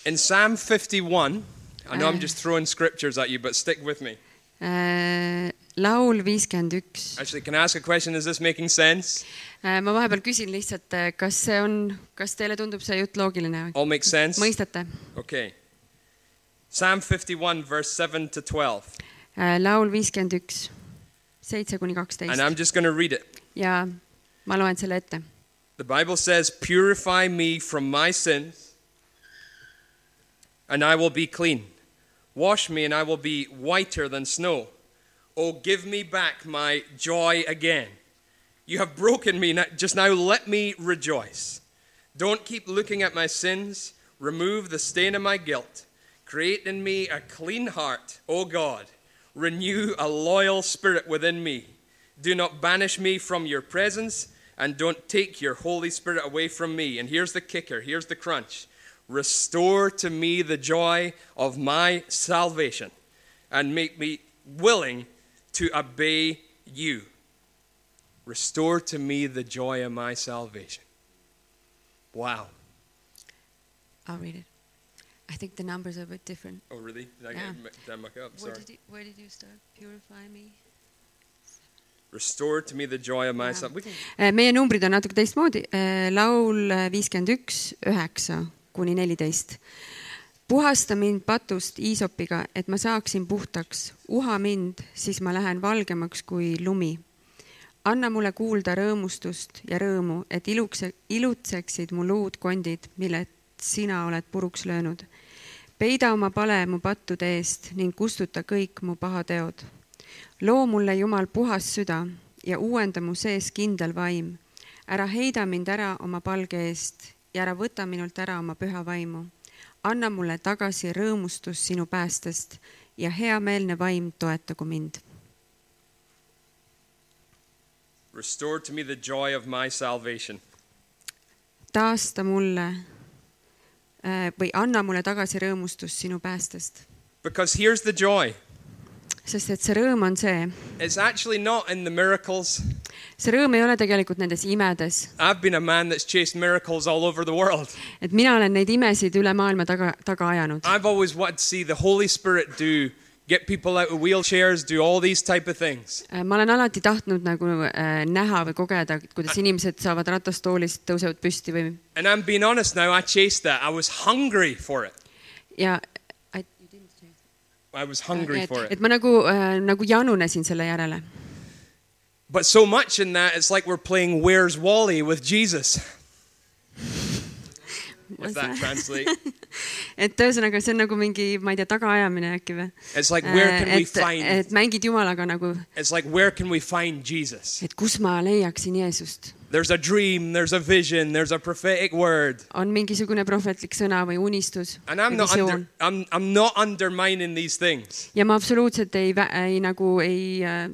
E: In Psalm 51, I know I'm
D: Ah.
E: just throwing scriptures at you, but stick with me.
D: Äh, laul viiskümmend üks .
E: Actually, can I ask a question? Is this making sense?
D: ma vahepeal küsin lihtsalt , kas see on , kas teile tundub see jutt loogiline või ?
E: All makes sense?
D: mõistate ?
E: Okay. Psalm 51, verse 7 to 12.
D: Äh, laul viiskümmend üks , seitse kuni
E: And I'm
D: kaksteist
E: just going to read it.
D: ja ma loen selle ette .
E: The Bible says, Purify me from my sins, and I will be clean. Wash me, and I will be whiter than snow. Oh, give me back my joy again. You have broken me, now- just now let me rejoice. Don't keep looking at my sins. Remove the stain of my guilt. Create in me a clean heart, O God. Renew a loyal spirit within me. Do not banish me from your presence, and don't take your Holy Spirit away from me. And here's the kicker, here's the crunch. Restore to me the joy of my salvation, and make me willing to obey you. Restore to me the joy of my salvation. Wow.
D: I'll read it . I think the numbers are a bit different .
E: Oh, really? Did I
D: Yeah.
E: get did I muck up?
D: Where
E: Sorry.
D: did you , where did you start ? Purify me .
E: Restore to me the joy of my
D: Yeah.
E: salvation.
D: Eh, meie numbrid on natuke teistmoodi . laul eh, viiskümmend üks , üheksa kuni neliteist . puhasta mind patust iisopiga , et ma saaksin puhtaks . uha mind , siis ma lähen valgemaks kui lumi . anna mulle kuulda rõõmustust ja rõõmu , et ilukse , ilutseksid mu luud kondid , mille sina oled puruks löönud . peida oma pale mu pattude eest ning kustuta kõik mu pahateod . loo mulle , Jumal , puhas süda ja uuenda mu sees kindel vaim . ära heida mind ära oma palge eest ja ära võta minult ära oma püha vaimu . anna mulle tagasi rõõmustus sinu päästest ja heameelne vaim toetagu mind .
E: Restore to me the joy of my salvation.
D: taasta mulle äh, või anna mulle tagasi rõõmustus sinu päästest ,
E: Because here's the joy.
D: sest et see rõõm on see ,
E: It's actually not in the miracles.
D: see rõõm ei ole tegelikult nendes imedes ,
E: I've been a man that's chased miracles all over the world.
D: et mina olen neid imesid üle maailma taga , taga ajanud .
E: I've always wanted to see the Holy Spirit do get people out of wheelchairs, do all these type of things.
D: Äh, ma olen alati tahtnud nagu äh, näha või kogeda , kuidas inimesed saavad ratastoolist , tõusevad püsti või
E: And I'm being honest now, I chased that. I was hungry for it.
D: ja et,
E: I was hungry
D: et,
E: for it.
D: et ma nagu äh, , nagu janunesin selle järele .
E: But so much in that, it's like we're playing Where's Wally with Jesus. If that translates.
D: et ühesõnaga , see on nagu mingi , ma ei tea , tagaajamine äkki või ?
E: Uh, It's like, where can we
D: et ,
E: find-
D: et mängid jumalaga nagu ,
E: It's like, where can we find Jesus?
D: et kus ma leiaksin Jeesust .
E: There's a dream, there's a vision, there's a prophetic word.
D: on mingisugune prohvetlik sõna või unistus
E: And I'm
D: või
E: not, under,
D: visioon.
E: I'm, I'm not undermining these things.
D: ja ma absoluutselt ei , ei nagu ei äh,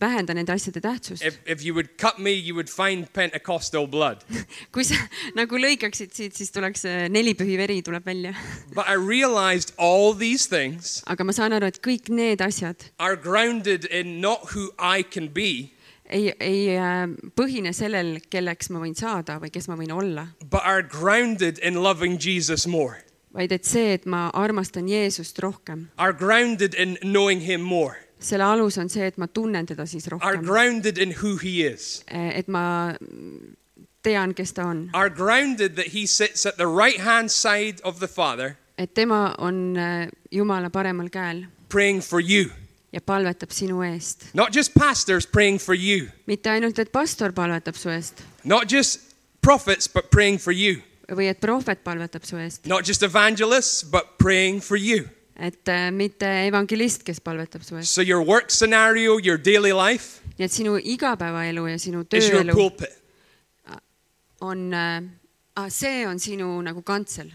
D: vähenda nende asjade tähtsust .
E: If, if you would cut me, you would find Pentecostal blood.
D: kui sa nagu lõikaksid siit , siis tuleks äh, nelipühi veri tuleb välja .
E: But I realized all these things
D: aga ma saan aru , et kõik need asjad
E: are grounded in not who I can be,
D: ei , ei äh, põhine sellel , kelleks ma võin saada või kes ma võin olla ,
E: but are grounded in loving Jesus more,
D: vaid et see , et ma armastan Jeesust rohkem .
E: are grounded in knowing Him more,
D: selle alus on see , et ma tunnen teda siis
E: are
D: rohkem ,
E: grounded in who He is,
D: et ma mm, tean , kes ta on ,
E: are grounded that He sits at the right hand side of the Father
D: et tema on äh, Jumala paremal käel
E: praying for you.
D: ja palvetab sinu eest .
E: Not just pastors praying for you,
D: mitte ainult , et pastor palvetab su eest
E: not just prophets, but praying for you,
D: või et prohvet palvetab su eest ,
E: not just evangelists, but praying for you.
D: et äh, mitte evangelist , kes palvetab su eest .
E: So, your work scenario, your daily life
D: nii et sinu igapäevaelu ja sinu
E: is your
D: tööelu
E: pulpit.
D: on , see on sinu nagu kantsel .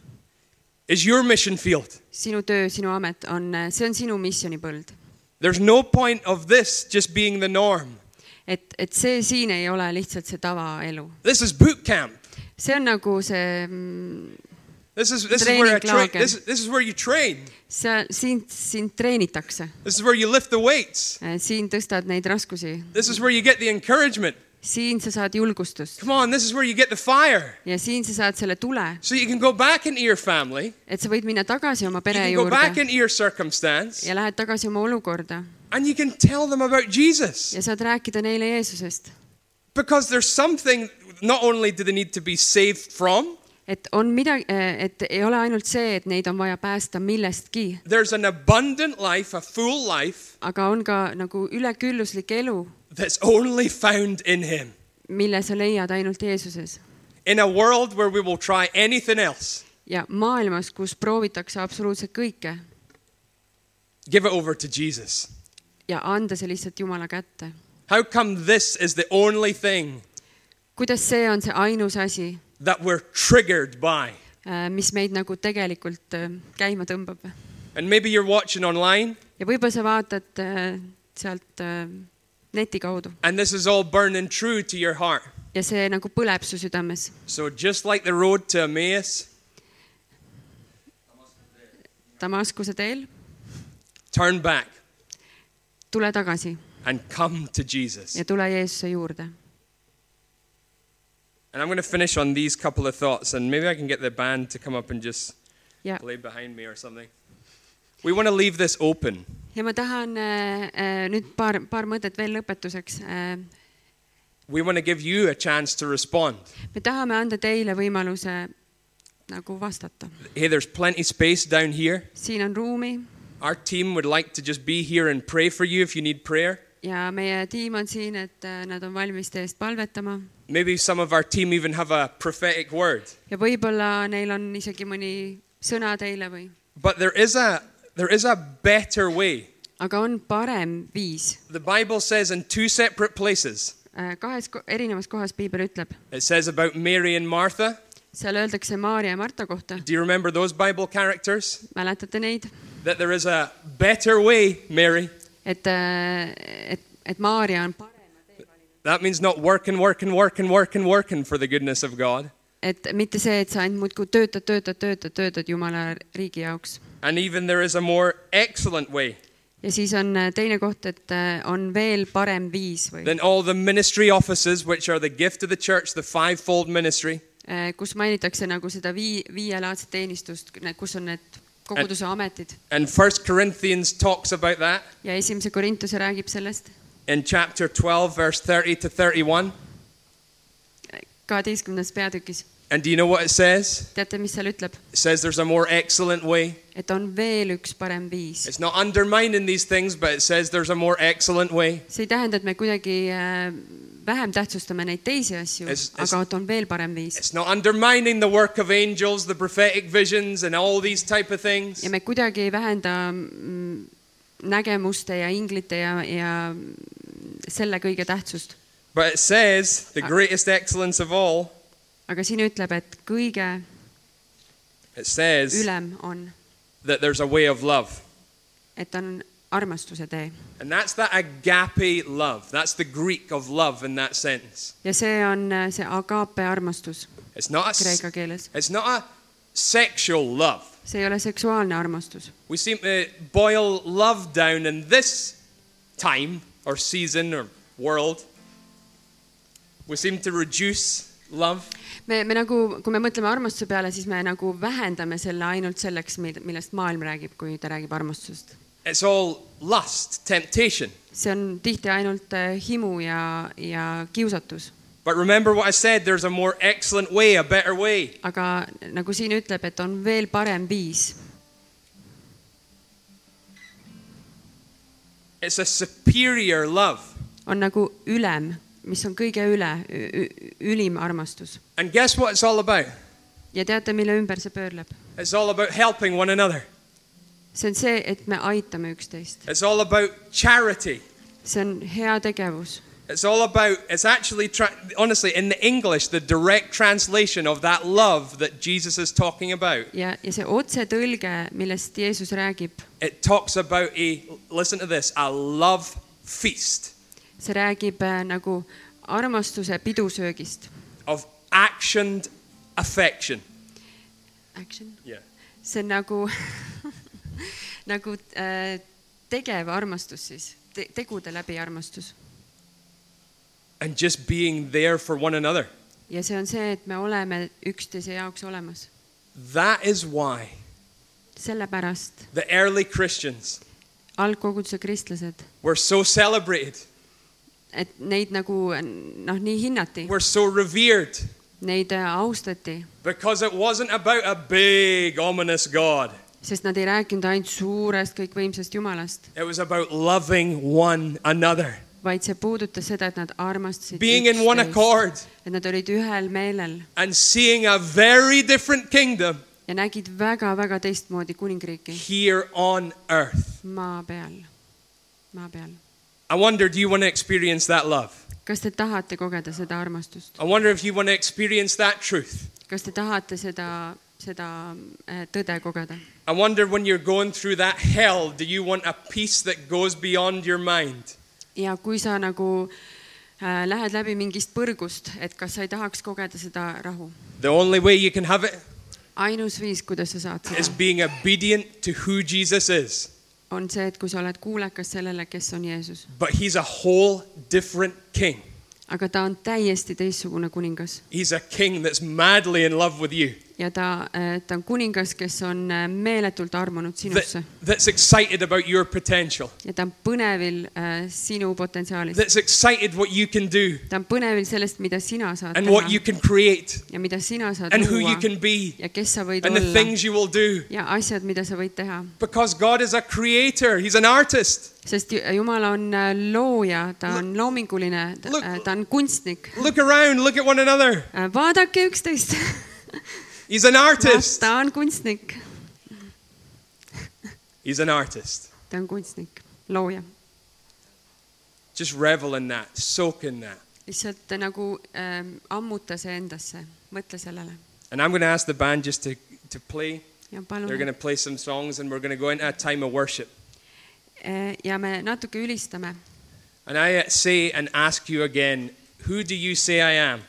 E: is your mission field.
D: sinu töö , sinu amet on , see on sinu missioonipõld .
E: There's no point of this just being the norm.
D: et , et see siin ei ole lihtsalt see tavaelu .
E: This is boot camp.
D: see on nagu see , mm,
E: This is this is where I
D: Training
E: train.
D: lager.
E: This, this is where you train.
D: see , sind , sind treenitakse ,
E: This is where you lift the weights.
D: siin tõstad neid raskusi ,
E: This is where you get the encouragement.
D: siin sa saad julgustust
E: Come on, this is where you get the fire.
D: ja siin sa saad selle tule ,
E: So you can go back into your family.
D: et sa võid minna tagasi oma
E: You
D: pere
E: can go back
D: juurde
E: into your circumstance
D: ja lähed tagasi oma olukorda
E: and you can tell them about Jesus.
D: ja saad rääkida neile Jeesusest ,
E: Because there's something not only do they need to be saved from,
D: et on midagi , et ei ole ainult see , et neid on vaja päästa millestki ,
E: there's an abundant life, a full life
D: aga on ka nagu ülekülluslik elu ,
E: that's only found in him.
D: mille sa leiad ainult Jeesuses
E: In a world where we will try anything else,
D: ja maailmas , kus proovitakse absoluutselt kõike
E: give it over to Jesus.
D: ja anda see lihtsalt Jumala kätte .
E: How come this is the only thing
D: kuidas see on see ainus asi ,
E: that we're triggered by?
D: mis meid nagu tegelikult äh, käima tõmbab ?
E: And maybe you're watching online
D: ja võib-olla sa vaatad äh, sealt äh, neti kaudu
E: and this is all burning true to your heart.
D: ja see nagu põleb su südames .
E: So, just like the road to Emmaus,
D: Damaskuse teel ,
E: turn back
D: tule tagasi
E: and come to Jesus.
D: ja tule Jeesuse juurde .
E: And I'm going to finish on these couple of thoughts and maybe I can get the band to come up and just
D: ja ,
E: play behind me or something. We want to leave this open.
D: ja ma tahan äh, äh, nüüd paar , paar mõtet veel lõpetuseks äh, .
E: We want to give you a chance to respond.
D: me tahame anda teile võimaluse nagu vastata .
E: Hey, there's plenty space down here.
D: siin on ruumi
E: Our team would like to just be here and pray for you if you need prayer.
D: ja meie tiim on siin , et äh, nad on valmis teie eest palvetama
E: Maybe some of our team even have a prophetic word.
D: ja võib-olla neil on isegi mõni sõna teile või ,
E: But there is a there is a better way.
D: aga on parem viis .
E: The Bible says in two separate places.
D: Äh, kahes ko- erinevas kohas piibel ütleb ,
E: It says about Mary and Martha.
D: seal öeldakse Maarja ja Marta kohta ,
E: Do you remember those Bible characters?
D: mäletate neid ,
E: That there is a better way, Mary.
D: et , et , et Maarja on parem ,
E: That means not working, working, working, working, working for the goodness of God.
D: et mitte see , et sa ainult muudkui töötad , töötad , töötad , töötad Jumala riigi jaoks .
E: And even there is a more excellent way
D: ja siis on äh, teine koht , et äh, on veel parem viis või ,
E: than all the ministry offices, which are the gift of the church, the fivefold ministry.
D: kus mainitakse nagu seda vii- , viielaadset teenistust , kus on need koguduse ametid
E: And First Corinthians talks about that.
D: ja esimese Korintuse räägib sellest äh,
E: in chapter 12, verse 30 to 31.
D: kaheteistkümnendas peatükis .
E: And do you know what it says?
D: teate , mis seal ütleb ?
E: It says there's a more excellent way.
D: et on veel üks parem viis .
E: It's not undermining these things, but it says there's a more excellent way.
D: see ei tähenda , et me kuidagi äh, vähem tähtsustame neid teisi asju ,
E: Es- es-
D: aga et on veel parem viis .
E: It's not undermining the work of angels, the prophetic visions, and all these type of things.
D: ja me kuidagi ei vähenda mm, nägemuste ja inglite ja , ja selle kõige tähtsust .
E: But it says the greatest excellence of all.
D: aga siin ütleb , et kõige
E: It says
D: ülem on ,
E: that there's a way of love.
D: et on armastuse tee
E: And that's that agape love. That's the Greek of love in that sentence.
D: ja see on äh, see agape armastus
E: It's not a, s-
D: kreeka keeles ,
E: it's not a sexual love.
D: see ei ole seksuaalne armastus .
E: We seem to boil love down in this time or season or world. We seem to reduce love.
D: me , me nagu , kui me mõtleme armastuse peale , siis me nagu vähendame selle ainult selleks , millest maailm räägib , kui ta räägib armastusest .
E: It's all lust, temptation.
D: see on tihti ainult äh, himu ja , ja kiusatus ,
E: But remember what I said there's a more excellent way, a better way.
D: aga nagu siin ütleb , et on veel parem viis ,
E: It's a superior love.
D: on nagu ülem , mis on kõige üle , ülim armastus
E: And guess what it's all about?
D: ja teate , mille ümber see pöörleb ?
E: It's all about helping one another.
D: see on see , et me aitame üksteist ,
E: It's all about charity.
D: see on heategevus ,
E: It's all about, it's actually, tra- honestly, in the English, the direct translation of that love that Jesus is talking about.
D: ja , ja see otsetõlge , millest Jeesus räägib ,
E: It talks about a, listen to this, a love feast
D: see räägib äh, nagu armastuse pidusöögist .
E: of actioned affection.
D: Action .
E: Yeah.
D: see on nagu nagu äh, tegev armastus siis Te , tegude läbi armastus
E: And just being there for one another.
D: ja see on see , et me oleme üksteise jaoks olemas ,
E: That is why
D: sellepärast
E: the early Christians
D: algkoguduse kristlased ,
E: were so celebrated,
D: et neid nagu noh , nii hinnati ,
E: were so revered,
D: neid äh, austati
E: because it wasn't about a big, ominous God.
D: sest nad ei rääkinud ainult suurest kõikvõimsast Jumalast ,
E: It was about loving one another,
D: vaid see puudutas seda , et nad armastasid
E: being in one
D: üksteist ,
E: accord,
D: et nad olid ühel meelel
E: and seeing a very different kingdom
D: ja nägid väga-väga teistmoodi kuningriiki
E: here on earth.
D: maa peal , maa peal .
E: I wonder, do you want to experience that love?
D: kas te tahate kogeda seda armastust ,
E: I wonder if you want to experience that truth.
D: kas te tahate seda , seda eh, tõde kogeda ?
E: I wonder when you're going through that hell, do you want a peace that goes beyond your mind?
D: ja kui sa nagu äh, lähed läbi mingist põrgust , et kas sa ei tahaks kogeda seda rahu ?
E: The only way you can have it
D: ainus viis , kuidas sa saad
E: is
D: seda ,
E: being obedient to who Jesus is.
D: on see , et kui sa oled kuulekas sellele , kes on Jeesus .
E: But he's a whole different king.
D: aga ta on täiesti teistsugune kuningas
E: He's a king that's madly in love with you,
D: ja ta , ta on kuningas , kes on äh, meeletult armunud
E: that,
D: sinusse
E: that's excited about your potential,
D: ja ta on põnevil äh, sinu potentsiaalist .
E: that's excited what you can do
D: ta on põnevil sellest , mida sina saad
E: and what you
D: teha
E: can create
D: ja mida sina saad
E: and who you
D: luua
E: can be
D: ja kes sa võid
E: and the
D: olla
E: things you will do.
D: ja asjad , mida sa võid teha ,
E: Because God is a creator, He's an artist.
D: sest Ju- Jumal on äh, looja , ta on loominguline ,
E: look-
D: ta on kunstnik .
E: Look around, look at one another.
D: vaadake üksteist ,
E: He's an artist.
D: ta on kunstnik ,
E: He's an artist.
D: ta on kunstnik , looja .
E: Just revel in that, soak in that.
D: lihtsalt äh, nagu ähm, ammuta see endasse , mõtle sellele
E: And I'm going to ask the band just to, to play.
D: ja
E: They're going
D: palun
E: to play some songs and we're going to go into a time of worship.
D: Eh, ja me natuke ülistame
E: And I uh, say and ask you again, who do you say I am?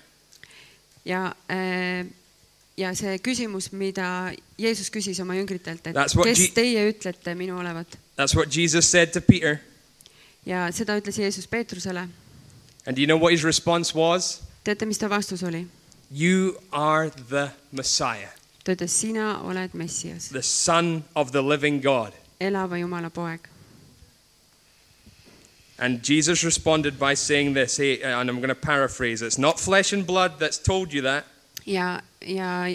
D: ja eh, ja see küsimus , mida Jeesus küsis oma jüngritelt , et
E: That's what
D: kes
E: Je-
D: teie ütlete minu olevat
E: That's what Jesus said to Peter.
D: ja seda ütles Jeesus Peetrusele .
E: And do you know what his response was?
D: teate , mis ta vastus oli ?
E: You are the Messiah,
D: ta ütles , sina oled Messias ,
E: the Son of the living God.
D: elava Jumala poeg .
E: And Jesus responded by saying this, hey, and I'm going to paraphrase it's not flesh and blood that's told you that,
D: ja , ja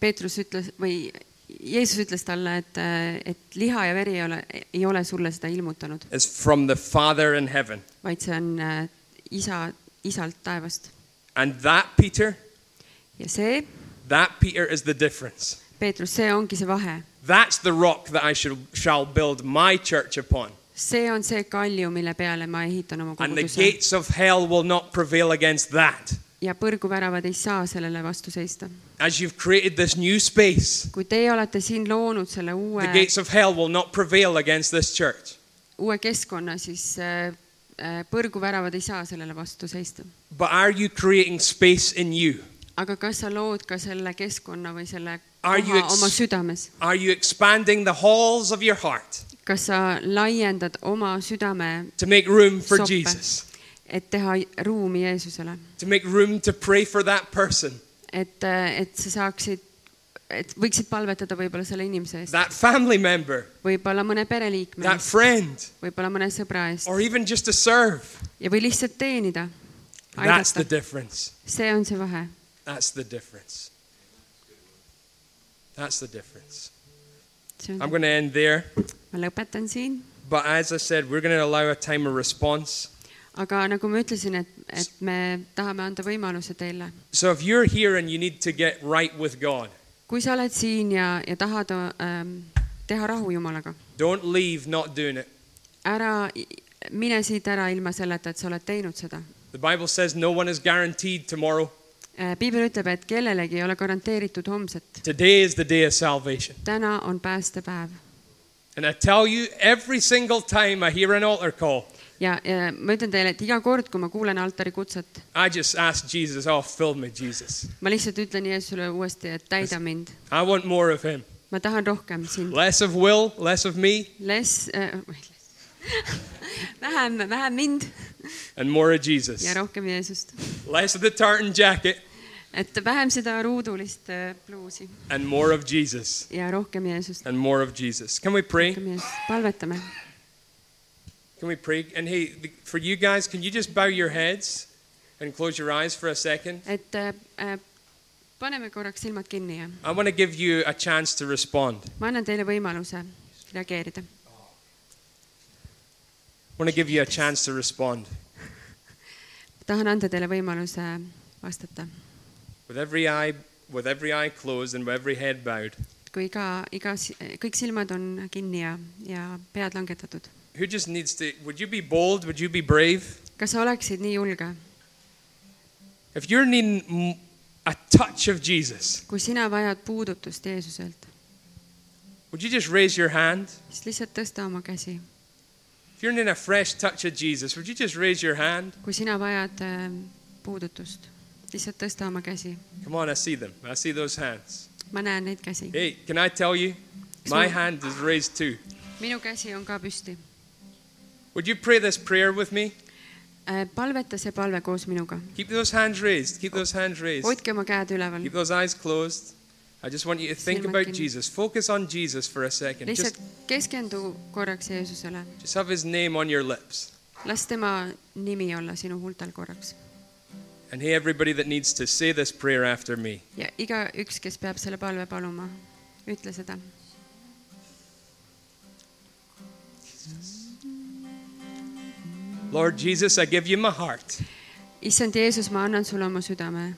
D: Peetrus ütles või Jeesus ütles talle , et , et liha ja veri ei ole , ei ole sulle seda ilmutanud ,
E: it's from the Father in heaven.
D: vaid see on eh, isa , isalt taevast
E: And that Peter,
D: ja see
E: that Peter is the difference.
D: Peetrus , see ongi see vahe ,
E: That's the rock that I shall, shall build my church upon.
D: see on see kalju , mille peale ma ehitan oma
E: And the
D: koguduse
E: gates of hell will not prevail against that.
D: ja põrguväravad ei saa sellele vastu seista .
E: As you've created this new space,
D: kui teie olete siin loonud selle uue
E: the , gates of hell will not prevail against this church.
D: uue keskkonna , siis äh, äh, põrguväravad ei saa sellele vastu seista .
E: But are you creating space in you?
D: aga kas sa lood ka selle keskkonna või selle
E: Are you
D: koha
E: ex-
D: oma südames ,
E: Are you expanding the halls of your heart
D: kas sa laiendad oma südame ,
E: to make room for
D: Soppe.
E: Jesus?
D: et teha ruumi Jeesusele ,
E: To make room to pray for that person,
D: et , et sa saaksid , et võiksid palvetada võib-olla selle inimese eest ,
E: that family member,
D: võib-olla mõne pereliikme
E: that
D: eest ,
E: friend,
D: võib-olla mõne sõbra eest
E: or even just to serve?
D: ja , või lihtsalt teenida ,
E: That's the
D: aidata ,
E: difference.
D: see on see vahe
E: That's the difference. That's the difference.
D: see
E: I'm
D: on ,
E: going to end there.
D: ma lõpetan siin ,
E: But as I said, we're going to allow a time of response.
D: aga nagu ma ütlesin , et , et me tahame anda võimaluse teile
E: So if you're here and you need to get right with God,
D: kui sa oled siin ja , ja tahad ähm, teha rahu Jumalaga .
E: Don't leave not doing it.
D: ära , mine siit ära ilma selleta , et sa oled teinud seda .
E: The Bible says no one is guaranteed tomorrow.
D: Äh, piibel ütleb , et kellelegi ei ole garanteeritud homset .
E: Today is the day of salvation.
D: täna on päästepäev
E: And I tell you, every single time I hear an altar call,
D: ja, ja ma ütlen teile , et iga kord , kui ma kuulen altari kutset ,
E: I just ask Jesus, oh, fill me, Jesus.
D: ma lihtsalt ütlen Jeesusele uuesti , et täida mind .
E: I want more of him.
D: ma tahan rohkem sind .
E: Less of Will, less of me,
D: Les äh, , vähem , vähem mind
E: and more of
D: ja
E: Jesus.
D: rohkem Jeesust .
E: Less of the tartan jacket,
D: et vähem seda ruudulist äh, pluusi
E: and more of Jesus.
D: ja rohkem Jeesust .
E: And more of Jesus. Can we pray?
D: rohkem Jeesust , palvetame .
E: Can we pray? And hey, the- for you guys, can you just bow your heads and close your eyes for a second?
D: et äh, äh, paneme korraks silmad kinni ja
E: I want to give you a chance to respond.
D: ma annan teile võimaluse reageerida .
E: I want to give you a chance to respond.
D: tahan anda teile võimaluse vastata .
E: With every eye, with every eye closed and with every head bowed,
D: kui iga , iga , kõik silmad on kinni ja , ja pead langetatud .
E: who just needs to? Would you be bold? Would you be brave?
D: kas sa oleksid nii julge ,
E: If you're needing m- a touch of Jesus,
D: kui sina vajad puudutust Jeesuselt ,
E: would you just raise your hand?
D: siis lihtsalt tõsta oma käsi .
E: If you're needing a fresh touch of Jesus, would you just raise your hand?
D: kui sina vajad äh, puudutust , lihtsalt tõsta oma käsi .
E: Come on, I see them. I see those hands.
D: ma näen neid käsi .
E: Hey, can I tell you? My hand is raised too.
D: minu käsi on ka püsti
E: Would you pray this prayer with me?
D: äh, . palveta see palve koos minuga .
E: Keep those hands raised. Keep those hands raised.
D: hoidke oma käed üleval
E: Keep those eyes closed. I just want you to think
D: Silmad
E: about
D: kinni.
E: Jesus. Focus on Jesus for a second. Just,
D: lihtsalt keskendu korraks Jeesusele ,
E: just have his name on your lips.
D: las tema nimi olla sinu huultel korraks
E: And hey, everybody that needs to say this prayer after me.
D: ja igaüks , kes peab selle palve paluma , ütle seda .
E: Lord Jesus, I give you my heart.
D: issand Jeesus , ma annan sulle oma südame ,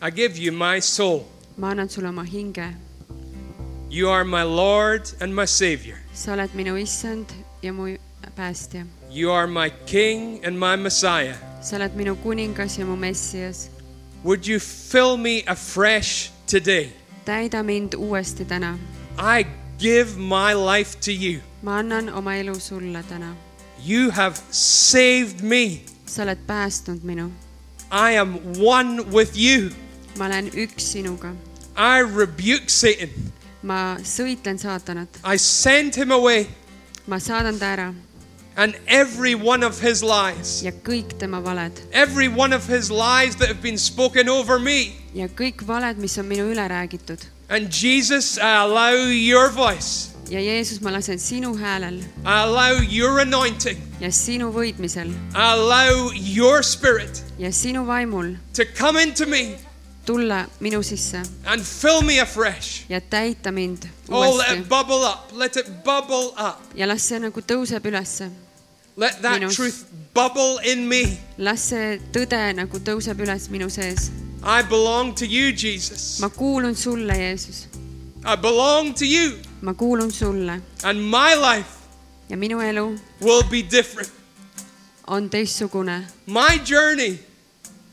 E: I give you my soul.
D: ma annan sulle oma hinge ,
E: You are my Lord and my Savior.
D: sa oled minu issand ja mu päästja ,
E: You are my King and my Messiah.
D: sa oled minu kuningas ja mu messias .
E: Would you fill me afresh today?
D: täida mind uuesti täna ,
E: I give my life to you.
D: ma annan oma elu sulle täna ,
E: You have saved me.
D: sa oled päästnud minu ,
E: I am one with you.
D: ma olen üks sinuga ,
E: I rebuke Satan.
D: ma sõitlen saatanat ,
E: I send him away
D: ma saadan ta ära
E: and every one of his lies.
D: ja kõik tema valed
E: Every one of his lies that have been spoken over me.
D: ja kõik valed , mis on minu üle räägitud
E: And Jesus, I allow your voice.
D: ja Jeesus , ma lasen sinu häälel
E: I allow your anointing.
D: ja sinu võitmisel
E: I allow your spirit
D: ja sinu vaimul
E: to come into me
D: tulla minu sisse
E: and fill me afresh.
D: ja täita mind
E: Oh, let it
D: uuesti
E: bubble up. Let it bubble up.
D: ja las see nagu tõuseb ülesse .
E: Let that
D: Minos.
E: truth bubble in me.
D: las see tõde nagu tõuseb üles minu sees .
E: I belong to you, Jesus.
D: ma kuulun sulle , Jeesus ,
E: I belong to you.
D: ma kuulun sulle
E: And my life
D: ja minu elu
E: will be different.
D: on teistsugune .
E: My journey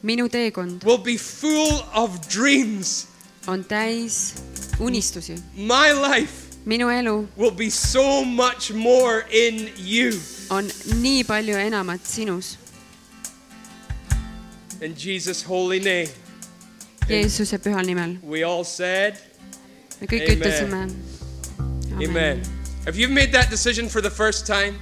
D: minu teekond
E: will be full of dreams.
D: on täis unistusi ,
E: My life
D: minu elu
E: will be so much more in you.
D: on nii palju enamat sinus ,
E: In Jesus' holy name,
D: Jeesuse pühal nimel .
E: we all said,
D: me kõik
E: Amen.
D: ütlesime .
E: Amen. If you've made that decision for the first time,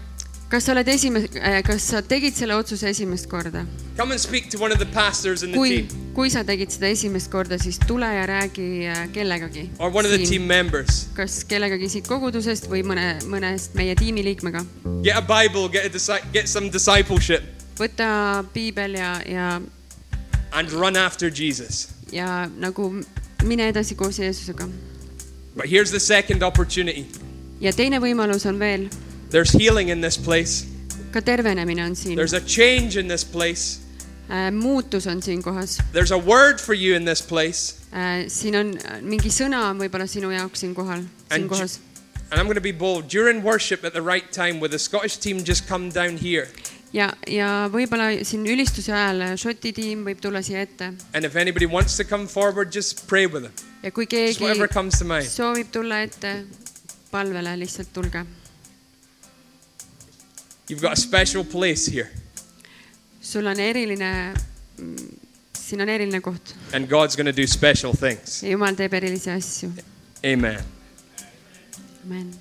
D: kas sa oled esimene , kas sa tegid selle otsuse esimest korda ?
E: come and speak to one of the pastors in the
D: kui
E: team,
D: kui sa tegid seda esimest korda , siis tule ja räägi äh, kellegagi
E: or one of the team members.
D: kas kellegagi siit kogudusest või mõne , mõnest meie tiimiliikmega .
E: Get a Bible, get, a disi- get some discipleship,
D: võta piibel ja , ja ,
E: and run after Jesus.
D: ja nagu mine edasi koos Jeesusega .
E: But here's the second opportunity
D: ja teine võimalus on veel ,
E: there's healing in this place,
D: ka tervenemine on siin .
E: there's a change in this place,
D: muutus on siinkohas .
E: there's a word for you in this place.
D: Eh, siin on äh, mingi sõna on võib-olla sinu jaoks siinkohal ,
E: And, Je-
D: siinkohas
E: And I'm going to be bold. During worship at the right time, with the Scottish team just come down here.
D: ja , ja võib-olla siin ülistuse ajal Šoti tiim võib tulla siia ette
E: And if anybody wants to come forward, just pray with them.
D: ja kui
E: Just
D: keegi
E: whatever comes to mind.
D: soovib tulla ette palvele , lihtsalt tulge .
E: You've got a special place here,
D: sul on eriline , siin on eriline koht
E: and God's going to do special things.
D: ja Jumal teeb erilisi asju .
E: Amen.
D: amen .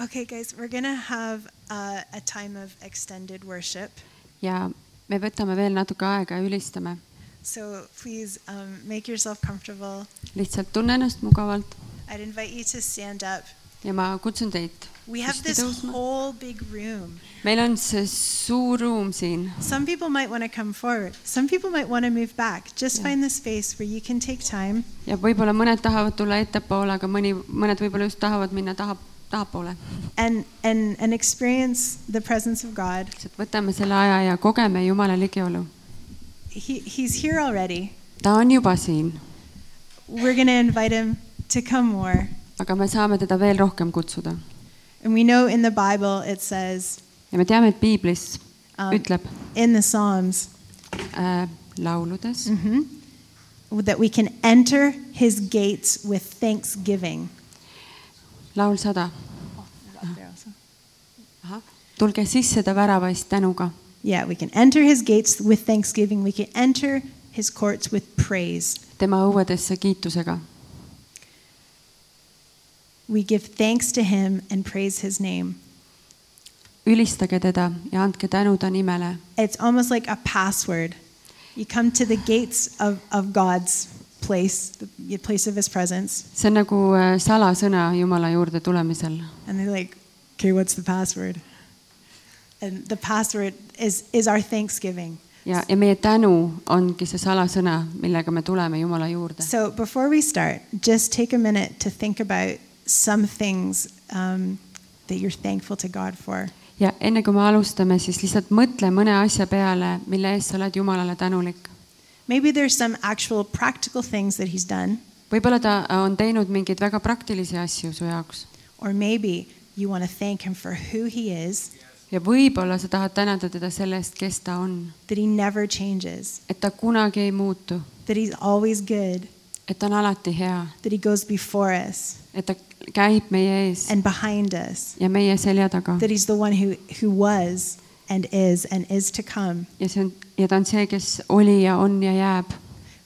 F: Okay, guys, we're going to have uh, a time of extended worship.
D: ja me võtame veel natuke aega ja ülistame .
F: So please um, make yourself comfortable.
D: lihtsalt tunne ennast mugavalt
F: I'd invite you to stand up.
D: ja ma kutsun teid .
F: We have this whole big room.
D: meil on see suur ruum siin
F: Some people might want to come forward, some people might want to move back. Just find the space where you can take time
D: ja võib-olla mõned tahavad tulla ettepoole , aga mõni , mõned võib-olla just tahavad minna taha , tahapoole .
F: and, and, and experience the presence of God.
D: lihtsalt võtame selle aja ja kogeme Jumala ligiolu .
F: He, he's here already.
D: ta on juba siin ,
F: We're going to invite him to come more.
D: aga me saame teda veel rohkem kutsuda
F: And we know in the Bible it says,
D: ja me teame , et piiblis
F: um,
D: ütleb
F: in the Psalms,
D: äh, lauludes ,
F: Mhm. That we can enter his gates with thanksgiving.
D: laul sada , tulge sisse ta väravaist tänuga ,
F: Yeah, we can enter his gates with thanksgiving. We can enter his courts with praise.
D: tema õuedesse kiitusega .
F: We give thanks to him and praise his name.
D: ülistage teda ja andke tänu ta nimele .
F: It's almost like a password. You come to the gates of, of God's place, the place of his presence,
D: see on nagu äh, salasõna Jumala juurde tulemisel .
F: and they're like, okay, what's the password? And the password is, is our thanksgiving.
D: ja , ja meie tänu ongi see salasõna , millega me tuleme Jumala juurde .
F: So before we start, just take a minute to think about some things um, that you're thankful to God for.
D: ja enne kui me alustame , siis lihtsalt mõtle mõne asja peale , mille eest sa oled Jumalale tänulik .
F: Maybe there's some actual practical things that He's done,
D: võib-olla ta äh, on teinud mingeid väga praktilisi asju su jaoks
F: or maybe you want to thank Him for who He is,
D: ja võib-olla sa tahad tänada teda selle eest , kes ta on ,
F: that He never changes,
D: et ta kunagi ei muutu ,
F: that He's always good,
D: et ta on alati hea ,
F: that He goes before us
D: et ta käib meie ees
F: and behind us,
D: ja meie selja taga
F: that He's the one who, who was and is and is to come.
D: ja see on ja ta on see , kes oli ja on ja jääb .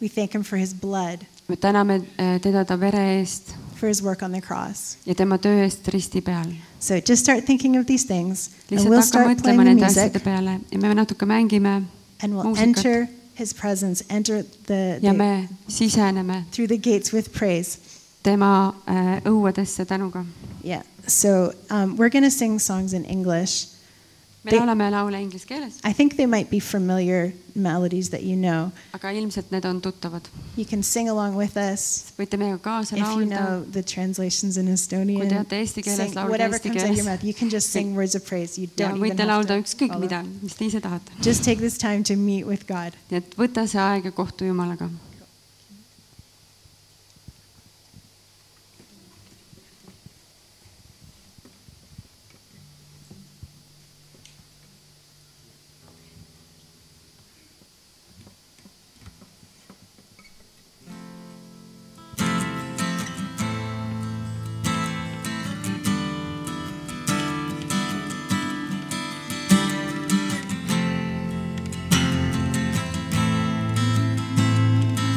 F: We thank Him for His blood,
D: me täname eh, teda ta vere eest
F: for His work on the cross.
D: ja tema töö eest risti peal .
F: So just start thinking of these things, and we'll
D: lihtsalt hakka
F: start playing
D: mõtlema
F: the
D: nende
F: music.
D: asjade peale ja me natuke mängime
F: And we'll
D: Musikat.
F: enter his presence, enter the,
D: ja
F: the-
D: me siseneme
F: through the gates with praise.
D: tema eh, õuedesse tänuga .
F: Yeah. So um, we're going to sing songs in English.
D: me
F: Te-
D: laulame laule inglise keeles ,
F: I think they might be familiar melodies that you know.
D: aga ilmselt need on tuttavad .
F: You can sing along with us
D: võite meiega kaasa
F: if you
D: laulda
F: know the translations in
D: Kui
F: Estonian.
D: teate eesti keeles,
F: Sing
D: laulge
F: whatever
D: eesti
F: comes out of your
D: keeles.
F: mouth. You can just sing words of praise. You
D: ja
F: don't even
D: võite
F: have
D: laulda
F: to
D: ükskõik
F: follow.
D: mida , mis te ise tahate .
F: Just take this time to meet with God.
D: nii et võta see aeg ja kohtu Jumalaga .
G: Thank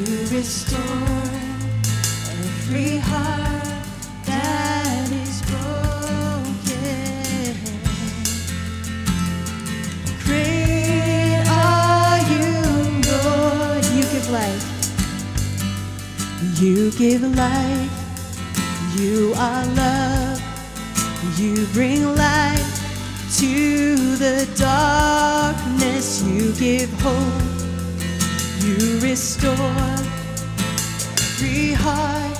G: restore every heart that is broken. Great are you, Lord.
F: You give life.
G: You give life. You are love. You bring light to the darkness. You give hope. You restore every heart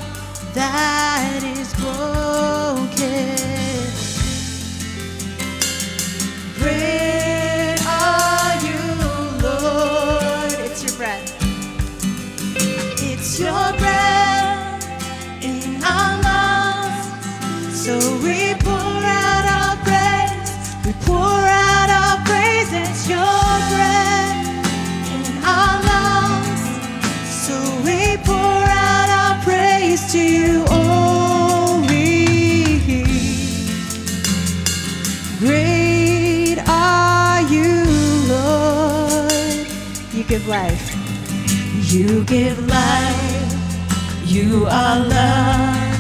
G: that is broken.
F: Great are you, Lord. It's your breath.
G: It's your breath in our lungs. So we pour out our praise. We pour out our praise. It's your breath in our lungs. So we pour out our praise to you only. Great are you, Lord.
F: You give life.
G: You give life, you are love,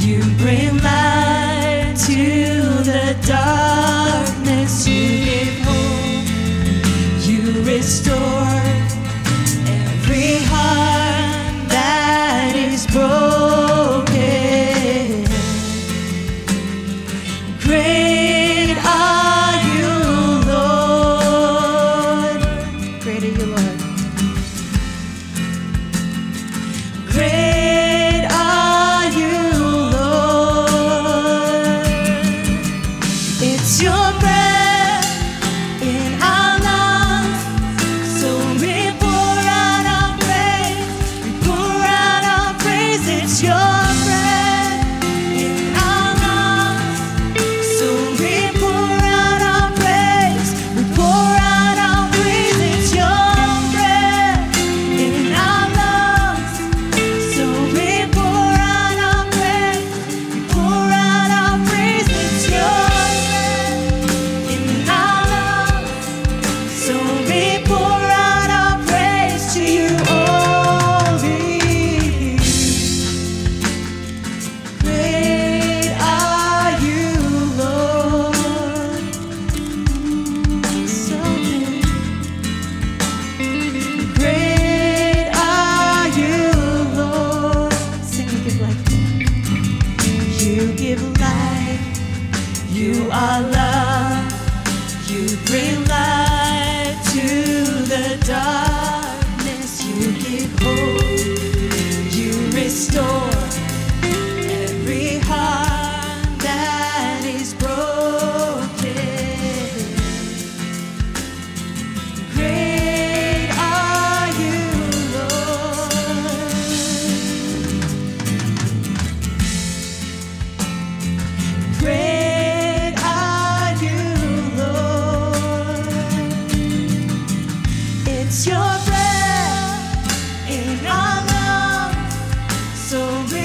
G: you bring light to the darkness, you give hope, you restore every heart that is broken. Great are you, Lord.
F: Great are you, Lord.
G: Great are you, Lord. It's your breath in our lungs. So we pour out our praise. We pour out our praise. It's your breath in our lungs. So we pour out our praise. We pour out our praise. It's your breath in our lungs. So we pour out our praise, we pour out our praise, it's your breath in our lungs. So we pour out our praise to you only. Great are you, Lord. So great. Great are you, Lord. Sing, you give life. You give life. You are love. You bring light to the darkness. You give hope. You restore every heart that is broken. Great are you, Lord. Great are you, Lord. It's your breath in our lungs, so we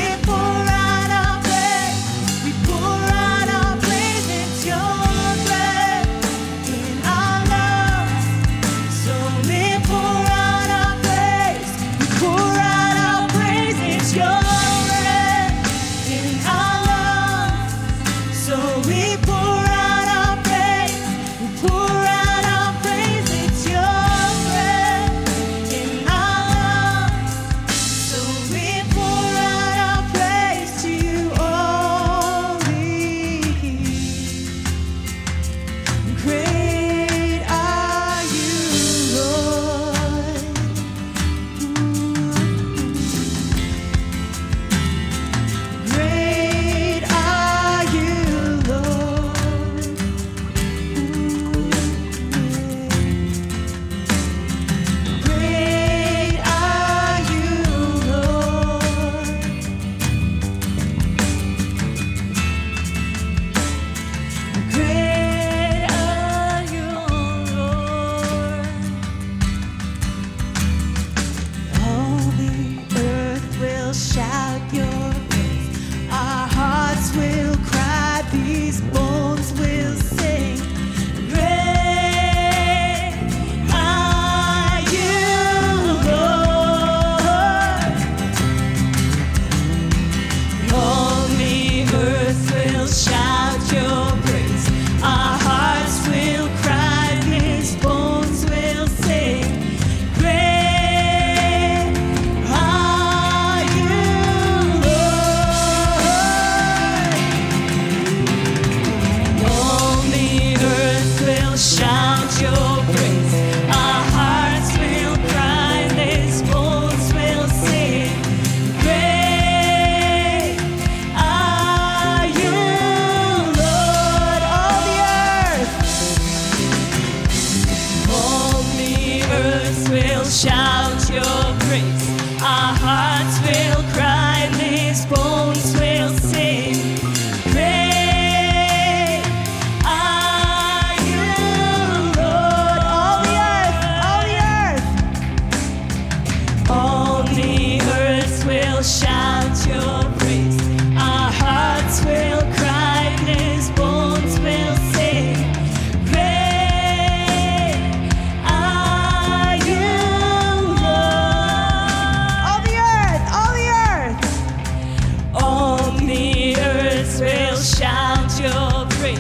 G: lips will shout your praise.